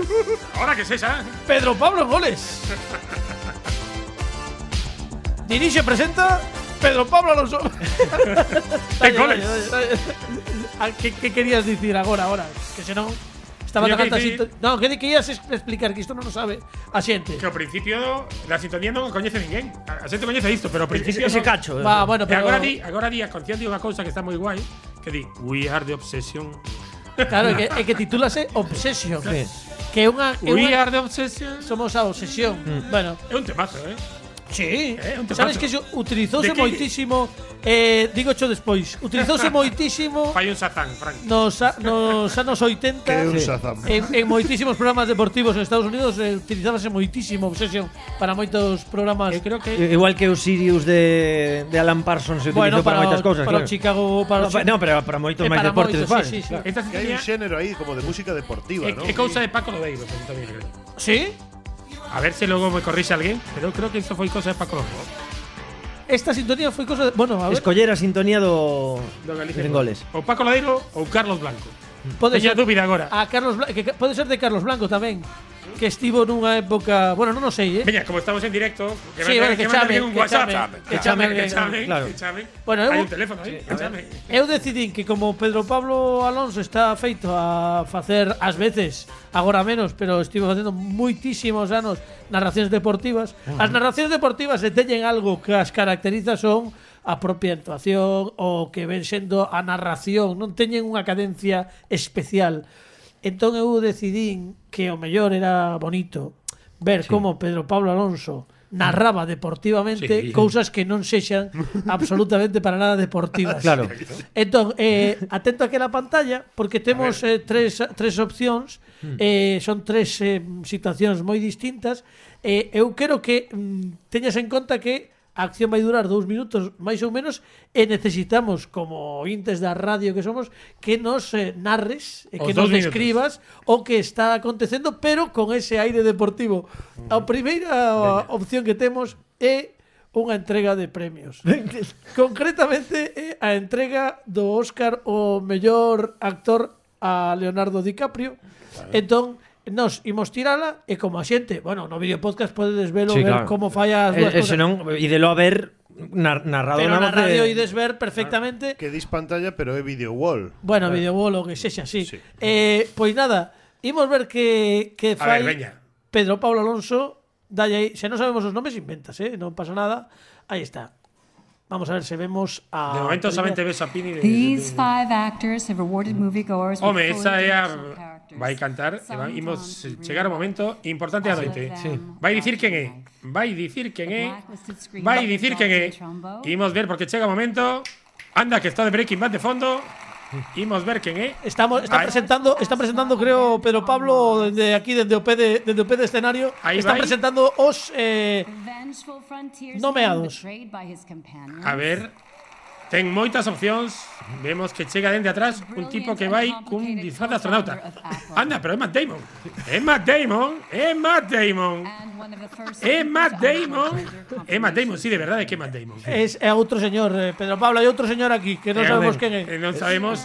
ahora que eh. sexa, Pedro Pablo en Goles. Dirixe e presenta Pedro Pablo Alonso. Dalle, goles. dalle, dalle, dalle. Ah, que, que querías dicir agora, agora? Que senón estaba Tiño que tocando a dicir- sinto- Non, que di que ias es- explicar que isto non o sabe a xente. que ao principio da sintonía non coñece ninguén. A, a xente coñece isto, pero ao ese, principio ese non- cacho. eh. Va, Ah, bueno, E pero agora di, agora di, a canción di unha cousa que está moi guai, que di We are the obsession. Claro, é que, é que titúlase Obsession. Sí. Que é unha... é We unha- are the obsession. Somos a obsesión. Bueno, É un temazo, eh? sí. É Eh, un temazo. Sabes que iso utilizouse De que- moitísimo... Eh, digo cho despois. Utilizouse moitísimo Fai un satán, Frank. nos, a- nos anos 80 Que é un Sí. Shazam. en, en moitísimos programas deportivos en Estados Unidos eh, utilizábase moitísimo Obsession para moitos programas. Eh, Eu creo que I- Igual Eh, que o Sirius de, de Alan Parsons se bueno, utilizou para, para, moitas o- cousas, para o claro. Chicago, para o No, pa- Chi- no, pero para moitos Eh, máis para deportes, moitos, vale. sí, sí, sí. esta Que hay sintonía un género ahí como de música deportiva, é, ¿no? é cousa de Paco Lodeiro, que tamén creo. Sí. A ver se logo me corrixe alguén, pero eu creo que isto foi cousa de Paco Lodeiro. Esta sintonía foi cosa de, bueno, a ver, Escoller a sintonía do, Do Galicia. En goles. Ou Paco Lodeiro ou Carlos Blanco. pode Teño ser Ah, dúbida agora. a Carlos Blanco, que, que pode ser de Carlos Blanco tamén, que estivo nunha época, bueno, non o sei, eh. Veña, como estamos en directo, que Sí, bueno, que mande chame, un que WhatsApp. chame, que Que chame, chame, que chame, claro. que chame. Bueno, eu- hai un teléfono aí, que chame. Eu decidín que como Pedro Pablo Alonso está feito a facer ás veces, agora menos, pero estivo facendo moitísimos anos narracións deportivas, as narracións deportivas se teñen algo que as caracteriza son a propia actuación o que ven sendo a narración, non teñen unha cadencia especial. Entón eu decidín que o mellor era bonito ver como Pedro Pablo Alonso narraba deportivamente Sí. cousas que non sexan absolutamente para nada deportivas. Claro. Entón, eh, atento aquí a la pantalla porque temos eh, tres, tres opcións Hmm. eh, son tres eh, situacións moi distintas eh, eu quero que mm, teñas en conta que a acción vai durar dous minutos máis ou menos e necesitamos como ointes da radio que somos que nos eh, narres e que Os nos dous minutos. describas o que está acontecendo pero con ese aire deportivo a primeira opción que temos é unha entrega de premios Concretamente é a entrega do Óscar o mellor actor a Leonardo DiCaprio. Entón, nos imos tirala e como a xente, bueno, no vídeo podcast podedes velo Sí, ver claro. como falla as dúas E, e cosas. senón, e de lo haber nar, narrado pero na na voz de- radio ides ver perfectamente. Que dis pantalla, pero é video wall. Bueno, videobolo, que sexa así. Sí. Eh, pois nada, imos ver que que A fai ver, veña. Pedro Pablo Alonso, dalle aí, se non sabemos os nomes inventas, eh, non pasa nada. Aí está. Vamos a ver se vemos a De momento solamente primeira- ves a Pini de, de, These de- five actors have rewarded moviegoers Home, with Mm. esa é a... full characters. Vai cantar e vai- imos Sometimes chegar ao momento importante da noite. Sí. Vai dicir quen é. Vai dicir quen é. Vai dicir quen é. Imos ver porque chega o momento. Anda, que está de Breaking Bad de fondo. Imos ver quen é. Estamos, están Ahí- presentando, están presentando, creo, Pedro Pablo, desde aquí, desde OP de, desde OP de escenario. Ahí están vai. presentando os. eh, Nomeados. A ver, ten moitas opcións. Vemos que chega dende atrás un tipo que vai cun disfraz de astronauta. Anda, pero é Matt Damon. É Matt Damon, é Matt Damon. É Matt Damon. É Matt Damon, sí, de verdade que é Matt Damon. Eh, es a otro señor, eh, Pedro Pablo. Hay otro señor aquí que no Eh, sabemos hombre, quién es. eh, non sabemos.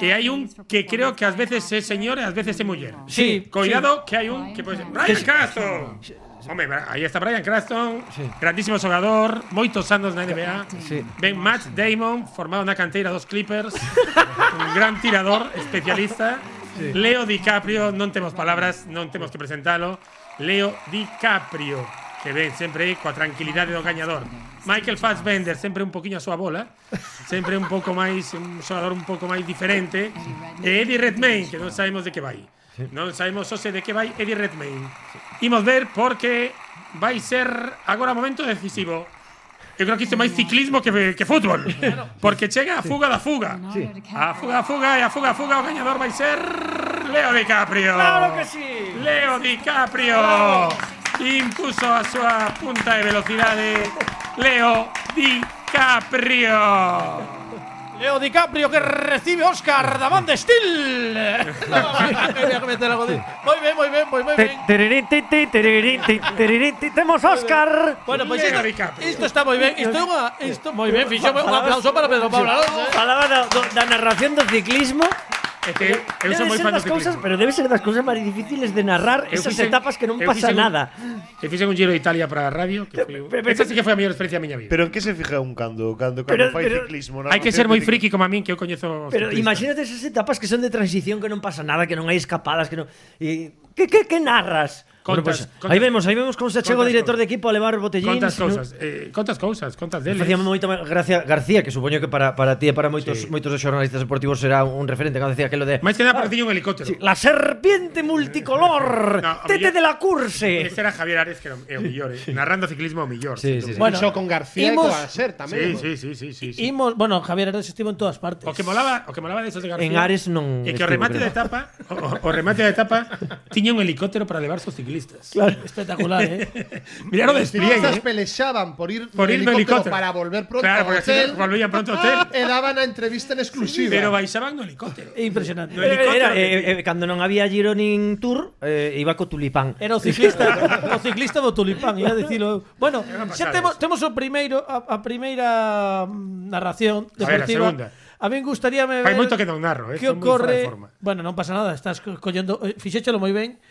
E hai un que creo que ás veces é señor e ás veces é muller. Sí, Coidado que hai un que pode ser Brian Cranston. Home, Bra- aí está Brian Cranston, grandísimo xogador, moitos anos na NBA. Sí. Ben Matt Damon, formado na canteira dos Clippers, un gran tirador, especialista. Leo DiCaprio, non temos palabras, non temos que presentalo. Leo DiCaprio, que ven sempre coa tranquilidade do gañador. Michael Fassbender, sempre un poquinho a súa bola, sempre un pouco máis un xogador un pouco máis diferente. E Eddie Redmayne, que non sabemos de que vai. Non sabemos sose de que vai Eddie Redmayne. Imos ver porque vai ser agora o momento decisivo. Eu creo que isto é máis ciclismo que, que fútbol. Porque chega a fuga da fuga. A fuga, a fuga e a fuga, a fuga. O gañador vai ser Leo DiCaprio. Claro que sí. Leo DiCaprio. Impuso a súa punta de velocidade Leo DiCaprio. Leo DiCaprio que recibe Oscar Damán de Steel. No, tenía que meter algo de. Muy bien, muy bien, muy, muy Te- bien. tererín, ti, ti, tererín, ti, tererín, ti. Temos Óscar. Bueno, pues Leo esto, DiCaprio. esto está muy bien. Esto, una- esto muy bien. Fichó un aplauso para Pedro Pablo Alonso. ¿eh? Falaba da, do, da narración do ciclismo. É que eu Debe sou moi ser fan do das cousas, ciclismo. pero debe ser das cousas máis difíciles de narrar Eu esas fixen- etapas que non eu pasa fixen un- nada. Eu fixen un giro de Italia para a radio. Que foi, Pe- pe- esa sí que foi a mellor experiencia da miña vida. Pero en qué se fija un cando cando Pero- cando fai pero- ciclismo? na Hai que noción ser de moi friki como a min que eu coñezo os Pero ciclistas. imagínate esas etapas que son de transición que non pasa nada, que non hai escapadas, que non e que que que narras? Contas- contas- aí vemos, aí vemos como se chega o contas director de cousas. equipo a levar os botellín. Contas cousas, eh, contas cousas, contas deles. Facía moita máis gracia García, que supoño que para, para ti e para moitos Sí. moitos dos xornalistas deportivos será un referente cando decía que lo de Máis que nada parecía un helicóptero. Sí, la serpiente multicolor, No, a tete mí- de la curse. Ese era Javier Ares, que era o- é o millor, eh. Narrando ciclismo é o millor. Sí, sí, sí. Bueno, Bueno, con García imos- y con Ser Sí, tamén. sí, sí, sí, sí, sí. Imos- bueno, Javier Hernández estuvo en todas partes. O que molaba, o que molaba de esos de García. En Ares non É que o estivo, remate creo. da etapa, o, o- o remate da etapa tiña un helicóptero para levar os ciclistas. Espectacular, ¿eh? Miraron de bien, Estas eh. peleaban por ir Por no ir no helicóptero. para volver pronto Claro, al porque así hotel. no- volvían pronto ao hotel. e daban a entrevista en exclusiva. Pero baixaban no helicóptero. Impresionante. No helicóptero Era, eh, eh, de- cando non había Giro nin Tour, eh, iba co tulipán. Era o ciclista, o ciclista do Tulipán, ia dicilo. eu. Bueno, Era unha xa pasada temos, esa. temos o primeiro a, a primeira mm, narración A ver, a deportiva. segunda. a min gustaríame ver Hai moito que non narro, eh. que son moi fora de ocorre. forma. Bueno, non pasa nada, estás co- collendo, eh, fixéchelo moi ben.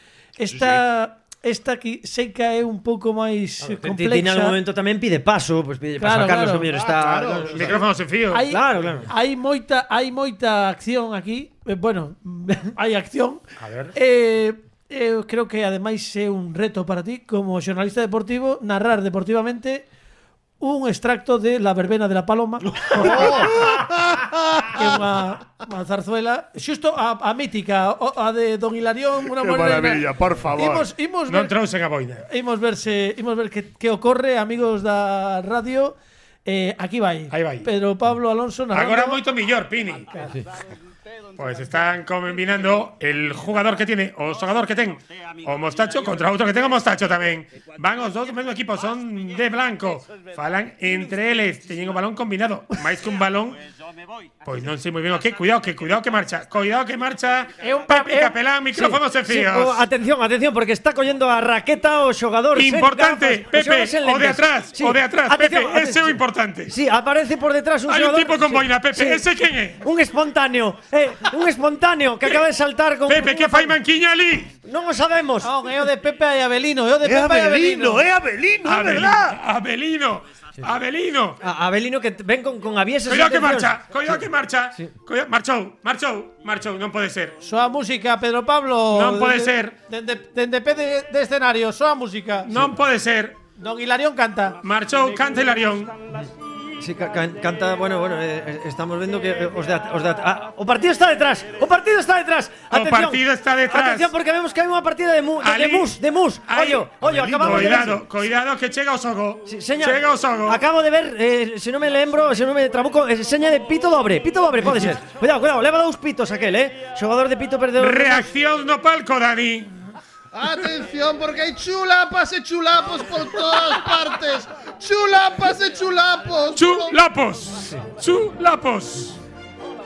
Esta esta aquí sei que é un pouco máis eh, Ti en complexa. algún momento tamén pide paso, pois pide paso Claro, a Carlos claro. o mellor está Os Micrófonos en fío. Hai, Claro, claro. hai moita hai moita acción aquí. Eh, bueno, hai acción. A ver. Eh, eu creo que ademais é un reto para ti como xornalista deportivo narrar deportivamente un extracto de La verbena de la paloma que é unha, unha zarzuela xusto a, a mítica o- a de Don Hilarión una Qué maravilla, por favor. imos, imos Non ver, trouxen a boina. imos verse imos ver que, que ocorre amigos da radio eh, aquí vai Aí vai. Pedro Pablo Alonso narrando. Agora moito mellor, Pini. Pues están combinando el jugador que tiene o xogador que ten o mostacho contra outro que tenga mostacho tamén. Van os dous do mesmo equipo, son de blanco. Falan entre eles, teñen o balón combinado, máis que un balón. Pois non sei moi ben o que, cuidado que cuidado que marcha, cuidado que marcha. É un Pepe Capelán, micrófonos en Sí, o, fíos. atención, atención, porque está collendo a raqueta o xogador sen Importante, gafas, Pues xogador Pepe, sen o de lentes. atrás, Sí, o de atrás, Pepe, atención, ese é atención. o importante. Sí, aparece por detrás un Hay un jugador. tipo con sí, boina, Pepe. sí. ¿Ese quién es? Un espontáneo, eh, un espontáneo que acaba de saltar con. Pepe, que fai Manquiñali? No lo sabemos. eh. Non, é o de Pepe e Abelino, é o de que- É Pepe e Abelino. Abelino, é Abelino, é Abelino, verdad. Abelino, Abelino. A Abelino que t- ven con, con aviesas. Cuidado que intenciones. marcha, cuidado que marcha. Cuidado, marchou, marchou, marchou, non pode ser. Soa música, Pedro Pablo. Non pode Dende- ser. Dende, dende pé de, de escenario, soa música. Non pode ser. Don Hilarión canta. Marchou Cancelarión. Sí, ca- can- canta, bueno, bueno, eh, eh, estamos vendo que eh, os da, os da, ah, o partido está detrás, o partido está detrás. Atención, partido está detrás. Atención porque vemos que hai unha partida de mu, de, de Ali. mus, de mus. Ali. Ollo, ollo, Ali, acabamos de ver. Cuidado, cuidado que chega o sogo. Seña, Chega o sogo. acabo de ver, eh, se non me lembro, se non me trabuco, eh, seña de pito dobre, pito dobre, pode ser. Cuidado, cuidado, leva dous pitos aquel, eh. Xogador de pito perdedor. Reacción no palco, Dani. Atención, porque hay chulapas y chulapos por todas partes. Chulapas y chulapos. Chulapos. Chulapos.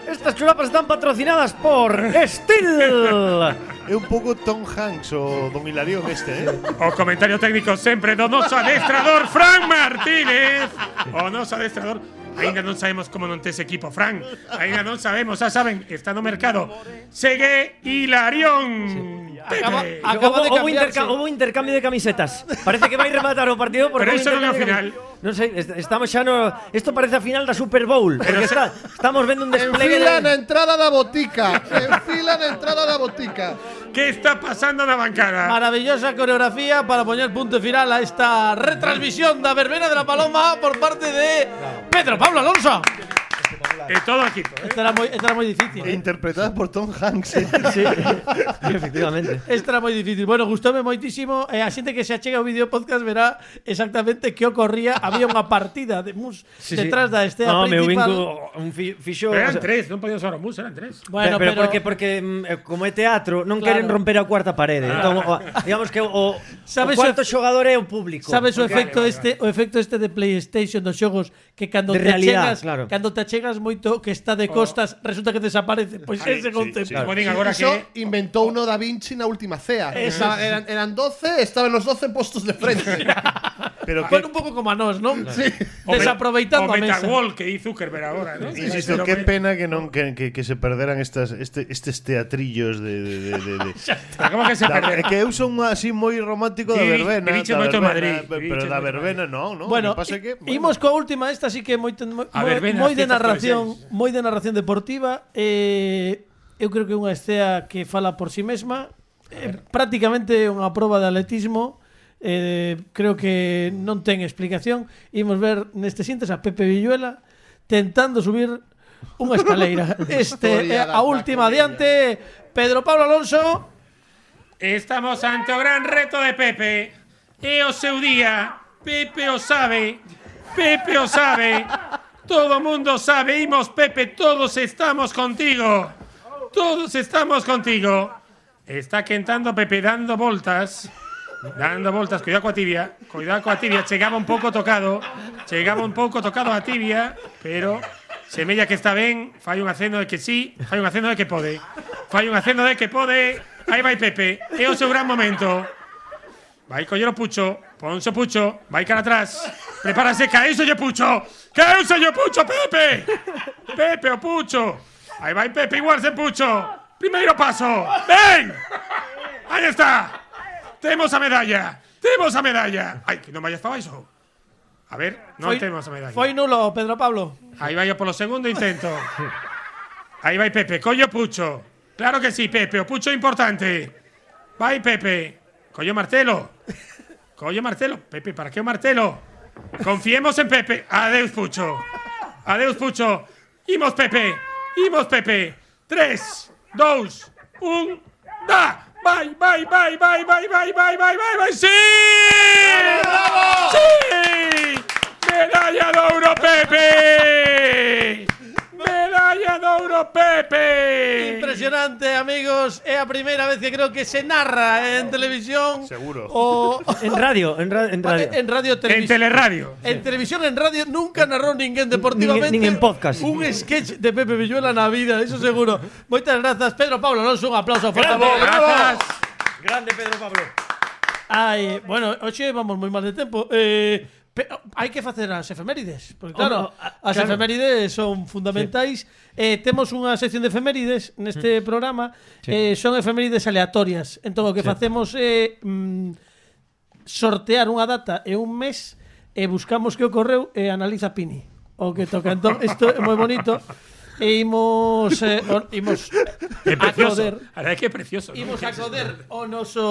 Estas chulapas están patrocinadas por Steel. É un pouco Tom Hanks o Don Hilarión este, eh? O Oh, comentario técnico siempre do noso adestrador Fran Martínez. O noso adestrador. Ainda non sabemos como non tes equipo, Fran. Ainda non sabemos, xa saben, está no mercado. Segue Hilarión. Tete. Acaba- Ah, acaba Acaba de de Eh, hubo, cambiarse. interca hubo intercambio de camisetas. Parece que vai rematar o partido porque Pero hubo iso non é o intercambio de cami- final. Non sei, est- estamos xa no isto parece a final da Super Bowl, porque está, estamos vendo un despliegue Enfila na de entrada da botica. Enfila na entrada da botica. Que está pasando na bancada? Maravillosa coreografía para poner punto final a esta retransmisión da verbena de la paloma por parte de Pedro Pablo Alonso. E todo o equipo. eh. Esta era muy, esta era muy difícil. ¿eh? Interpretada por Tom Hanks. eh? Sí, efectivamente. Esta era moi difícil. Bueno, gustoume moitísimo. E a xente que se achega ao vídeo podcast verá exactamente que ocorría. Había unha partida de mus Sí, sí. detrás da estea no, meu principal. vinco un fi- fixo o Pero eran sea, tres, non podían ser o mus, eran tres. Bueno, pero, pero, porque porque mm, eh, como é teatro non Claro. queren romper a cuarta parede. Ah. Entón, o- digamos que o, Sabes o o- cuarto xogador é o público. Sabes o Porque- efecto este, o efecto este de PlayStation dos xogos que cando De te realidad, achegas, claro. cando te achegas moito que está de costas, resulta que desaparece. Pois Ay, ese Oh. sí, concepto. sí. Poden agora Eso que inventó uno Da Vinci na última cea. Estaba- eran, eran 12, estaban los 12 puestos de frente. Pero que, Bueno, un pouco como a nós, non? Sí. O me- Desaproveitando a o mesa. Metagol que hizo Zuckerberg ahora, ¿no? Insisto, Pero qué me- pena que, non, que, que, que se perderan estas, este, estes teatrillos de... de, de, de, de. Pero ¿Cómo que se Da, perderá? é que eu son así moi romántico da Sí, verbena, Viviche da moito verbena, en Madrid, pe- pero Viviche da moito en verbena non, non. Bueno, o que pasa é que, bueno, imos coa última, esta sí que é moi, ten- moi, A ver, ven, moi as de citas narración, provinciais. moi de narración deportiva. Eh, eu creo que é unha escea que fala por si sí mesma. Eh, prácticamente é unha proba de atletismo. Eh, creo que non ten explicación. Imos ver neste sintes a Pepe Villuela tentando subir unha escaleira. Este é a última adiante. Pedro Pablo Alonso. Estamos ante o gran reto de Pepe. E o seu día. Pepe o sabe. Pepe o sabe. Todo mundo sabe. Imos, Pepe, todos estamos contigo. Todos estamos contigo. Está quentando Pepe dando voltas. Dando voltas, cuidado coa tibia, cuidado coa tibia, chegaba un pouco tocado, chegaba un pouco tocado a tibia, pero semella que está ben, fai un aceno de que sí, fai un aceno de que pode. Fai un aceno de que pode. Aí vai Pepe, é o seu gran momento. Vai coller o Pucho, ponse o Pucho, vai cara atrás. Prepárase, caeuse o Pucho. Caeuse o Pucho, Pepe. Pepe o Pucho. Aí vai Pepe, igual sen Pucho. Primeiro paso. Ven. Aí está. Temos a medalla. Temos a medalla. Ai, que non vayas para baixo. A ver, non Foi- temos a medalla. Foi nulo, Pedro Pablo. Ahí vaya por lo segundo intento. Ahí va Pepe. Coño Pucho. Claro que sí, Pepe. O Pucho importante. Va Pepe. Coño Martelo. Coño Martelo. Pepe, ¿para qué o Martelo? Confiemos en Pepe. Adeus, Pucho. Adeus, Pucho. Imos, Pepe. Imos, Pepe. Tres, dos, un, da. Vai, vai, vai, vai, vai, vai, vai, vai, vai, vai. ¡Sí! ¡Sí! ¡Medalla de oro, Pepe! ¡Medalla de oro, Pepe! Impresionante, amigos. Es la primera vez que creo que se narra en televisión. Seguro. O En radio, en, ra- en radio. en radio En televisión. teleradio. En televisión, en radio, nunca narró ningún deportivamente. Nin- nin en podcast. Un sketch de Pepe Villuela en la vida, eso seguro. Muchas gracias, Pedro Pablo Alonso. Un aplauso fuerte. Pedro. Gracias. Grande Pedro Pablo. Ay, bueno, hoxe vamos muy mal de tiempo. Eh, pe- hay que hacer las efemérides. Porque Oh, claro, no, ah, las claro. efemérides son fundamentais. tenemos una sección de efemérides en Mm. este programa. Eh, son efemérides aleatorias. Entonces, lo que eh, mm, hacemos es sortear una data en un mes Entón, e buscamos qué ocurrió e analiza Pini. O que toca. Entonces, esto es muy bonito. e imos eh, o- imos É precioso. acoder A verdade é que é precioso. non? imos Que- acoder o noso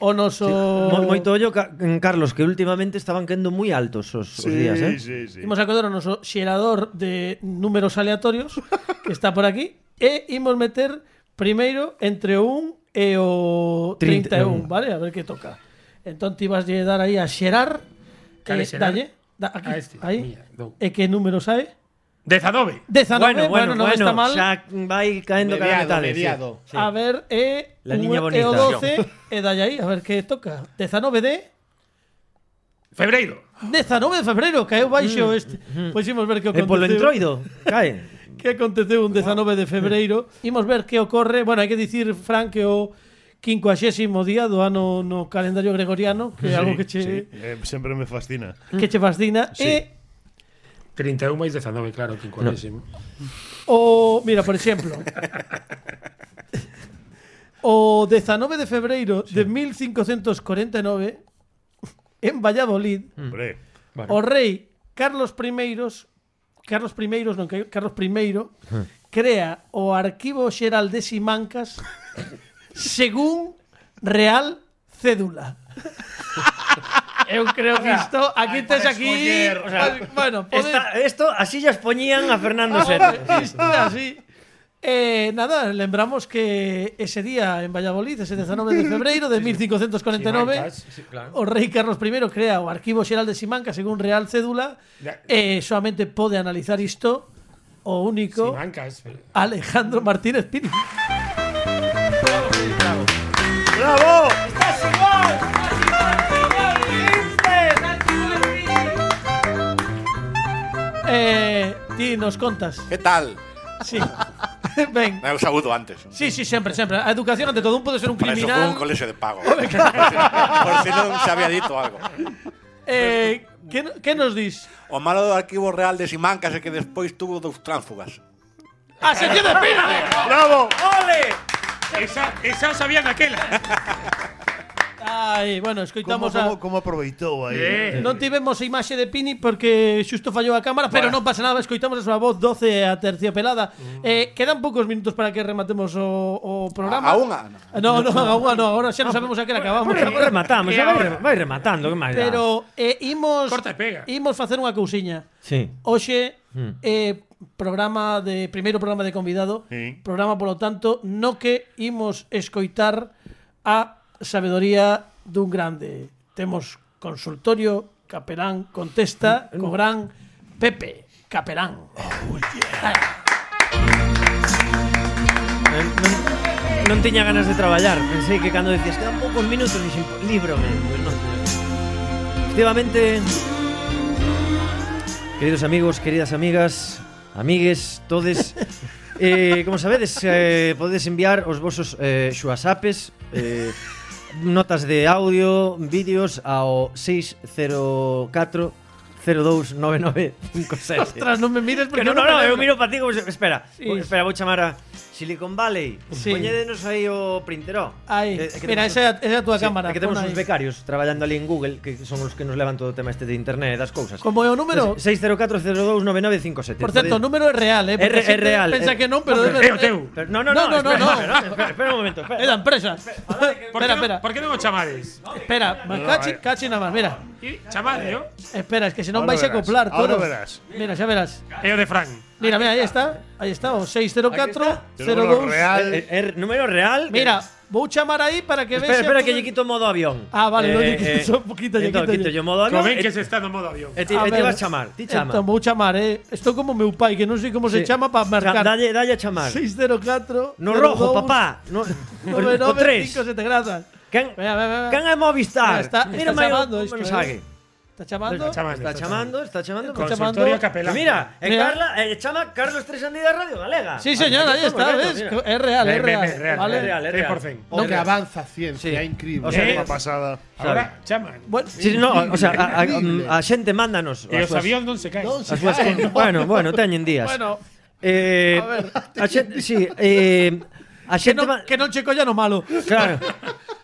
o noso Mo- Moito ollo, ca- en Carlos, que últimamente estaban quedando moi altos os, os días, eh? sí, sí. Imos acoger o noso xerador de números aleatorios que está por aquí e imos meter primeiro entre o 1 e o 31, 31. vale? A ver que toca. Entón ti vas lle dar aí a xerar eh, Cale xerar? dalle, da, aquí, A este, aí. mira, dou. E que número sae? Dezadobe. 19, bueno, non está mal. eh, xa vai caendo cada Mediado, metales. sí. mediado. Sí. A ver, eh, La niña un- eh, o bonita. 12, e dalle aí, a ver que toca. 19 de Febreiro. 19 de febreiro, caeu baixo este. Pois imos ver que E polo aconteceu. entroido, cae. Que aconteceu un 19 de febreiro. Imos ver que ocorre. Bueno, hai que dicir, Fran, que o 50º día do ano no calendario gregoriano, que é algo que che, Sí, eh, siempre me fascina. que che fascina. Sí. E 31 máis 19, claro, 50. O, mira, por exemplo, o 19 de febreiro de 1549 en Valladolid, Hombre. o rei Carlos I, Carlos I, non, que- Carlos I crea o Arquivo Xeral de Simancas según Real Cédula. Eu creo que isto aquí tes aquí, o sea, bueno, podes Esta, esto así ya expoñían a Fernando Serra. Isto é así. Eh, nada, lembramos que ese día en Valladolid, ese 19 de febreiro de 1549, o rei Carlos I crea o Arquivo Xeral de Simanca según Real Cédula Ya. e solamente pode analizar isto o único Simancas. Alejandro Martínez Pini. ¡Bravo! Eh, ti nos contas. ¿Qué tal? Sí. Ben. Me ha saludo antes. Sí, sí, sempre, sempre. A educación ante todo un pode ser un Para Eso fue un criminal. colegio de pago. por, si, por si no se había dicho algo. Eh, que, que nos dis? O malo do arquivo real de Simancas é que despois tuvo dos tránsfugas. A Ah, sección de Pini! ¡Bravo! Esa, esa sabía naquela. Ai, bueno, ¿Cómo, escoitamos a... cómo, cómo aproveitó ahí? Eh. Non tivemos a imaxe de Pini porque xusto fallou a cámara, pero non pasa nada, escoitamos a súa voz 12 a terciopelada. Eh, quedan poucos minutos para que rematemos o, o programa. A- a unha? No, no, a unha no, agora xa non sabemos a que era acabamos. Pois Agora- Rematamos, Pues xa vai, re- vai rematando, que máis dá? Pero eh, imos Corta e pega. imos facer unha cousiña. Sí. Hoxe Hmm. eh, programa de primeiro programa de convidado, Sí. programa polo tanto no que imos escoitar a sabedoría dun grande. Temos consultorio Caperán Mm, contesta co gran Pepe Caperán. Eh, Non, non tiña ganas de traballar. Pensei que cando decías quedan poucos minutos, dixen, líbrome. Pues non. Efectivamente, queridos amigos, queridas amigas, amigues, todes, eh, como sabedes, eh, podedes enviar os vosos eh, xuasapes, eh, notas de audio, vídeos ao 604 029957. Ostras, non me mires porque Que no, no, non no, me eu lembro. miro para ti como se... Espera, Sí. Ui, espera, vou chamar a Silicon Valley. Sí. Sí. Poñédenos aí o printeró. Aí, Eh, que mira, temos esa é a- esa é a túa sí, cámara, é que temos pon aí. uns becarios traballando ali en Google, que son os que nos levan todo o tema este de internet Pues, e das cousas. Como é o número? 604029957. Por certo, o número é real, eh? porque É re- é a xente real, Pensa eh. que non, pero Hombre, debe- é o teu. Pero, no, no, No, no, no, no, espera, no. Espera, espera, espera un momento. Espera. Eh, É da empresa. Por que Espera, non- espera. Por que non o chamades? Espera, No, cachi, eh. cachi nada máis, mira. E chamade, ¿no? Espera, es que si no Ahora vais a verás, acoplar todos. ahora verás. Mira, ya verás. É o de Fran. Mira, mira, ahí está. Ahí está, o 604 Tenemos lo 02. real. É- é- é eh, número real. Eh, Mira, voy a chamar ahí para que veas. Espera, espera, que lle quito o modo avión. Ah, vale, no, lle quito só un poquito, lle entón, quito quito yo. yo modo avión. Como ven eh, e- que se está no modo avión. E ti, e ti vas chamar, ti chama. Voy a chamar, eh. Esto como meu pai, que no sé cómo se Sí. llama para marcar. Dalle, dalle a chamar. 604 No rojo, papá. No, o 3. 9957 grazas. Can, Mira, mira, mira. can é Movistar. Está- está maio- chamando isto, mensaje. eh. Está chamando. chamando, Está chamando, está chamando. Con- Consultorio chamando. Capelán. Mira, é Mira. Carla, eh, chama Carlos Tresandi da Radio Galega. Sí, señor, Aquí ahí está, perfecto, ves? mira. Es real, Ve, es ve, ve, real. real, es Vale. real. Tres por cien. Eh, O que avanza ciencia, é increíble. O Es sea, ¿Eh? una pasada. Ahora chaman. Bueno, pues, Sí, no, o sea, a, a, a, a xente mándanos E as os súas- avións non se caen. Non se as súas cae, non. con- Bueno, bueno, teñen días. bueno, eh, a ver. a xente, sí, eh, a que xente no, ma- que non che collan o malo. Claro.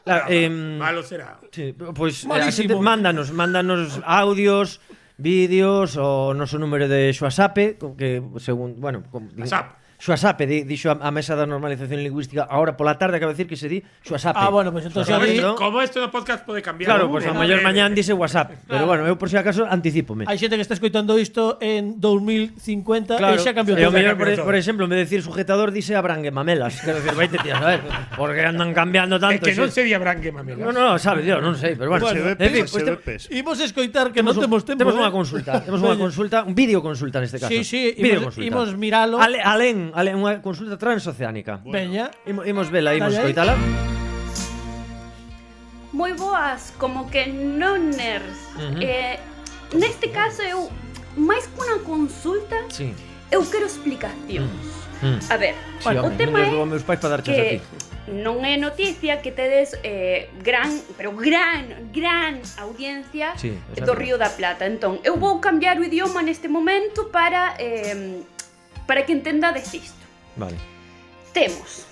claro em, Ah, Ah, Malo será. Sí, pois pues, eh, Malísimo. mándanos, mándanos audios, vídeos o noso número de Xoasape, co- que según, bueno, con, WhatsApp. Xoasape, di, dixo a, a mesa da normalización lingüística ahora pola tarde acaba de decir que se di Xoasape. Ah, bueno, pues entonces Como, a mí- esto, como esto no podcast puede cambiar. Eh, Claro, pois pues, a maior mañán dice WhatsApp, pero bueno, eu por si acaso anticipome. Hai xente que está escoitando isto en 2050 e xa cambiou e o todo. mellor, por, por exemplo, en vez de decir sujetador, dice abrangue mamelas. Quero decir, vaite tías, a ver, porque andan cambiando Es tanto. eh, que non xe- se di branque, mami. No, no, sabe Dios, non sei, pero bueno. Se ve en fin, pues este peso, se te- ve peso. Imos escoitar que non temos tempo. Temos eh. unha consulta, temos unha Veña. consulta, un vídeo consulta neste caso. Sí, sí, vídeo imos- consulta. imos miralo. Ale, alén, alén, unha consulta transoceánica. Veña. Imo, imos vela, imos Dai aí. coitala. moi boas, como que non nerds. Ujú. Eh, neste caso eu máis que unha consulta, Sí. eu quero explicacións. Mm. A ver, Sí, bueno, o home, tema non lles é dou a meus pais para darche a ti. que non é noticia que tedes eh, gran, pero gran, gran audiencia Sí, do Río da Plata. Entón, eu vou cambiar o idioma neste momento para eh, para que entendades isto. Vale. Temos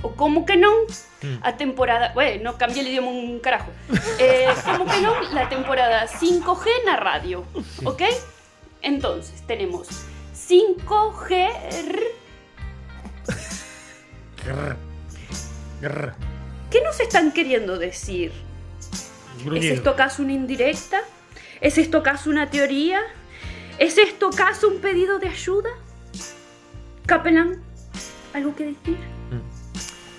o como que non Mm. a temporada, bueno, cambié el idioma un carajo. Eh, como que non la temporada 5G na radio, ¿ok? Entonces, tenemos 5G r- ¿Qué nos están queriendo decir? ¿Es esto acaso una indirecta? ¿Es esto acaso una teoría? ¿Es esto acaso un pedido de ayuda? Capelán, ¿algo que decir?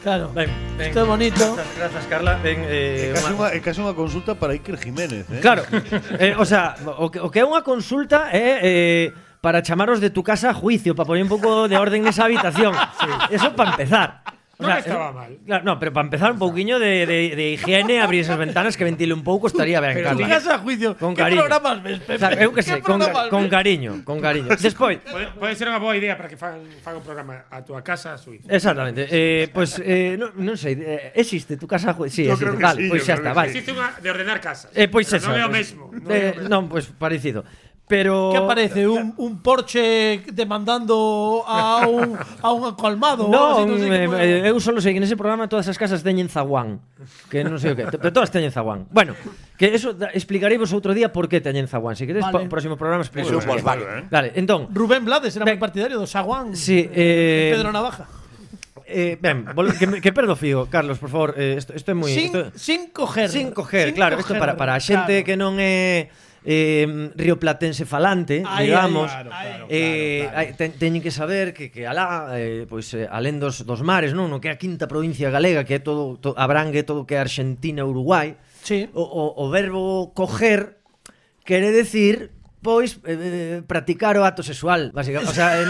Claro. Ben, ben. Isto é bonito. Grazas, grazas Carla. Ben, É eh, casi, unha- unha, é casi unha consulta para Iker Jiménez, eh? Claro. Eh, o sea, o que, o que é unha consulta é eh, para chamaros de tu casa a juicio, para poner un pouco de orden nesa habitación. Eso para empezar. O eh, Non estaba mal. Claro, no, pero para empezar un pouquiño de, de, de higiene, abrir esas ventanas que ventile un pouco estaría ben, Pero Carla. digas a juicio, Con que cariño. programas ves, Pepe? O sea, eu que Que sei, con, programas con ves? cariño, con cariño. Despois, Pode, pode ser unha boa idea para que fan, fan un programa a túa casa a Suiza. Exactamente. Eh, pois eh, non, non sei, eh, existe tu casa a juicio. Sí, Yo existe. creo que Vale, sí, pois yo xa creo está, que vale. sí. Existe unha de ordenar casas. Eh, pois Pero eso. non é o pois- mesmo, non é o Eh, mesmo. non, pois parecido. Pero Que aparece un, un Porsche demandando a un, a un colmado. o algo así, Non, non sei que eh, pode- eh, eu solo sei que nese programa todas as casas teñen zaguán, que non sei o que, te- pero todas teñen zaguán. Bueno, que eso da- explicareivos outro día por que teñen zaguán, se queres Vale. vale. próximo programa explico. Moi ben, moi ben, eh. Vale, entón, Rubén Blades era moi partidario do Saguán. Sí, eh, Pedro Navaja. eh, ben, vol- que, me- que perdo fío, Carlos, por favor, eh, esto, esto é moi... sin, esto- sin coger. Sin coger, claro, isto para, para a xente que non é eh, rioplatense falante, Ahí, digamos, ahí, claro, claro, eh, hai- ten- teñen que saber que, que alá, eh, pois, eh, alén dos, dos mares, non? no que é a quinta provincia galega, que é todo, to, abrangue todo o que é Argentina, Uruguai, Sí. o, o, o verbo coger quere decir, pois, eh, eh, practicar o acto sexual, basicamente. O sea, en,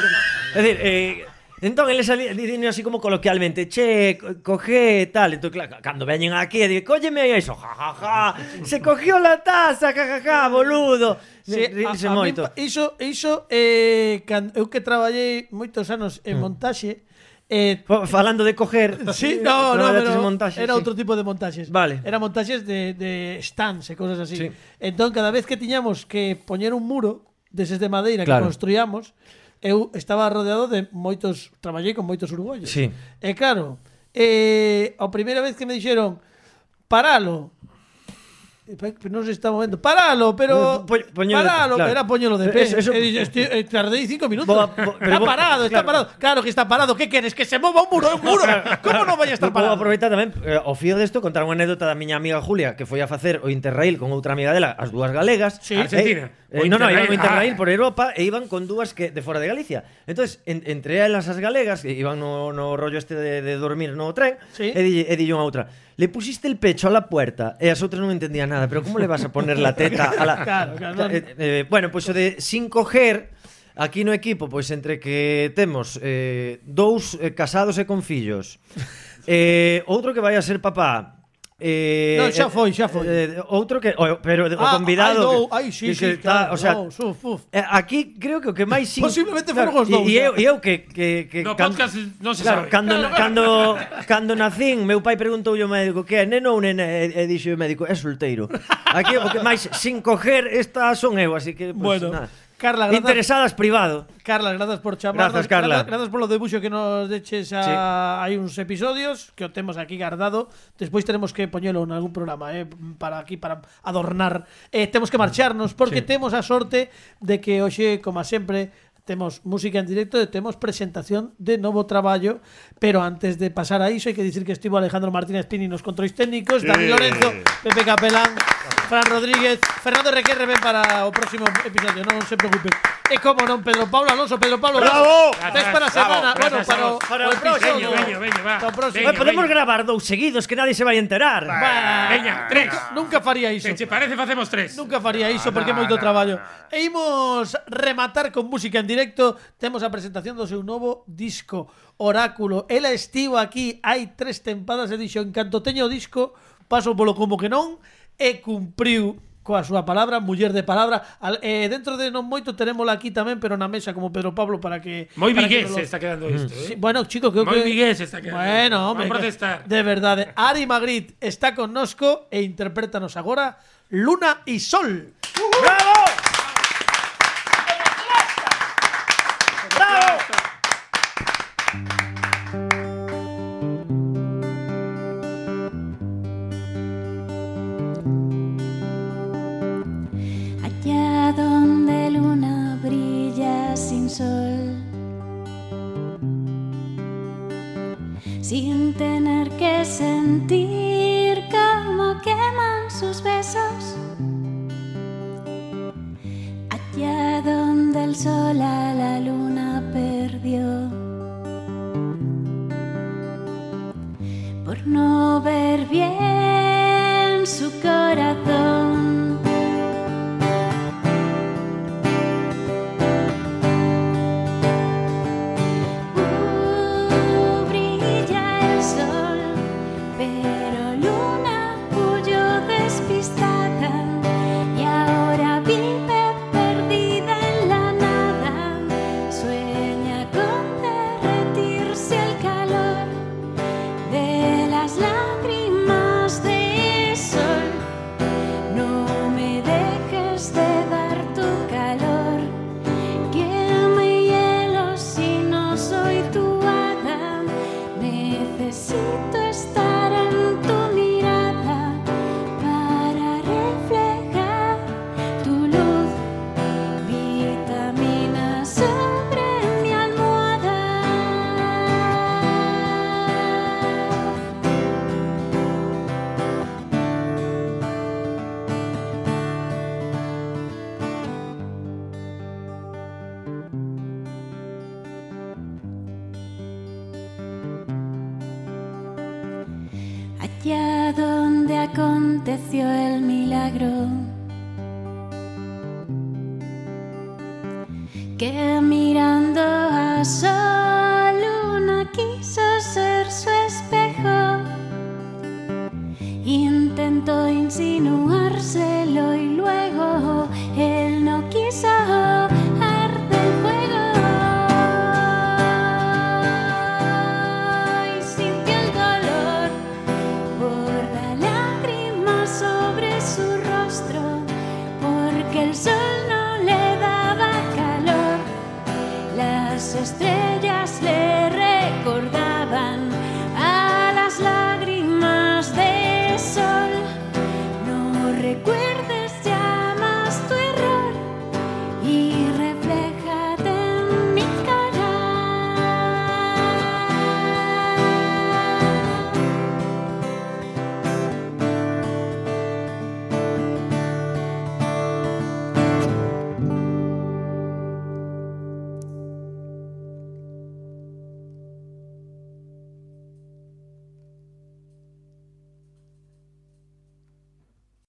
é dicir, eh, Entón, eles ali- dicen así como coloquialmente Che, co- coge tal Entón, claro, cando veñen aquí Dicen, cólleme aí iso Ja, ja, ja Se cogió la taza Ja, ja, ja, boludo Sí, a, Ríse a min moito pa- iso, iso eh, can, eu que traballei moitos anos en montaxe, eh, Fa- Falando de coger Sí, no, no, traballaches pero montaxe, era sí. outro tipo de montaxes. Vale. Era montaxes de, de stands e cosas así. Sí. Entón, cada vez que tiñamos que poñer un muro deses de madeira que Claro. construíamos, eu estaba rodeado de moitos... Traballei con moitos uruguayos. Sí. E claro, eh, a primeira vez que me dixeron paralo, Eh, pa- pero non se está movendo. Paralo, pero... Po- poñelo de pé, paralo, claro. era poñelo de Pero pé. eso- eso- E dixo, "Esti- eh, tardei cinco minutos. Bo- bo- pero está bo- parado, está claro. parado. Claro que está parado. ¿Qué quieres? ¿Que se mueva un muro? ¡Un muro! ¿Cómo no vaya a estar Vou parado? aproveitar tamén eh, ao fío desto contar unha anécdota da miña amiga Julia que foi a facer o Interrail con outra amiga dela, as dúas galegas. Sí. Argentina. Eh, O eh, non, non, iban Interrail, o Interrail ah. por Europa e iban con dúas que de fora de Galicia. Entonces, en, entre elas as galegas que iban no, no rollo este de, de dormir no tren, Sí. e dille, e dille unha outra, le pusiste el pecho a la puerta e as outras non entendían nada, pero como le vas a poner la teta a la... Claro, claro, non. Eh, eh, bueno, pois o de sin coger aquí no equipo, pois entre que temos eh, dous eh, casados e con fillos. Eh, outro que vai a ser papá. Eh, Non, xa foi, xa foi. Eh, outro que o, pero o Ah, ai, convidado dou- que, ai, sí, que, sí, que está, claro, o sea, dou, suf, uf. eh, aquí creo que o que máis sin- Posiblemente foron os e- dous, eh. E eu, xa. e eu que que que No can- podcast non se Claro, sabe. cando, cando, cando nacín, meu pai preguntoulle ao médico que é neno ou nena, e, e dixo o médico, é solteiro. Aquí o que máis sin coger esta son eu, así que pues, Bueno, nada. Carla, gracias. Interesadas privado. Carla, gracias por chamarnos. Gracias, Carla. Gracias, gracias por lo de buxo que nos deches a... Sí. Hai uns episodios que o temos aquí guardado. Despois tenemos que poñelo en algún programa, eh, para aquí, para adornar. Eh, temos que marcharnos porque Sí. temos a sorte de que hoxe, como sempre, temos música en directo e temos presentación de novo traballo, pero antes de pasar a iso hai que dicir que estivo Alejandro Martínez Pini nos controis técnicos, Sí. Dani Lorenzo, Pepe Capelán, Fran Rodríguez, Fernando Requerre ven para o próximo episodio, non se preocupen. E como non, Pedro Pablo Alonso, Pedro Pablo Bravo! Tes para a semana, Bravo, bueno, gracias para, a o- vos. Para o o próximo. episodio. Veño, Para o próximo. Eh, Bueno, podemos gravar dous seguidos que nadie se vai enterar. Veña, tres. Nunca faría iso. Se parece facemos tres. Nunca faría iso porque é moito traballo. E imos rematar con música en directo. Temos a presentación do seu novo disco, Oráculo. Ela estivo aquí hai tres tempadas e dixo, en canto teño o disco, paso polo como que non, e cumpriu coa súa palabra, muller de palabra. Al, eh, dentro de non moito terémola aquí tamén, pero na mesa como Pedro Pablo para que Moi para que vigués nos lo- se está quedando isto, Sí, eh. bueno, chicos, creo Moi que vigués está quedando isto. Bueno, Van hombre, protestar. de verdade. Ari Magritte está connosco e interprétanos agora Luna y Sol. ¡Bravo! ¡Bravo! allá donde luna brilla sin sol, sin tener que sentir cómo queman sus besos, allá donde el sol a la luna perdió. Por no ver bien su corazón. brilla el sol, pero Luna huyó despistada y ahora vive perdida en la nada. Sueña con derretirse el calor de las lágrimas de sol. No me dejes de dar tu calor. Queme hielo si no soy tu hada. Necesito estar en tu mirada para reflejar tu luz. Vitamina sobre mi almohada. allá donde aconteció el milagro. Que mirando a sol luna quiso ser su espejo. Intentó insinuárselo y luego él no quiso. arde el fuego y Sintió el dolor borra lágrimas sobre su rostro, porque el sol no le daba calor. Las estrellas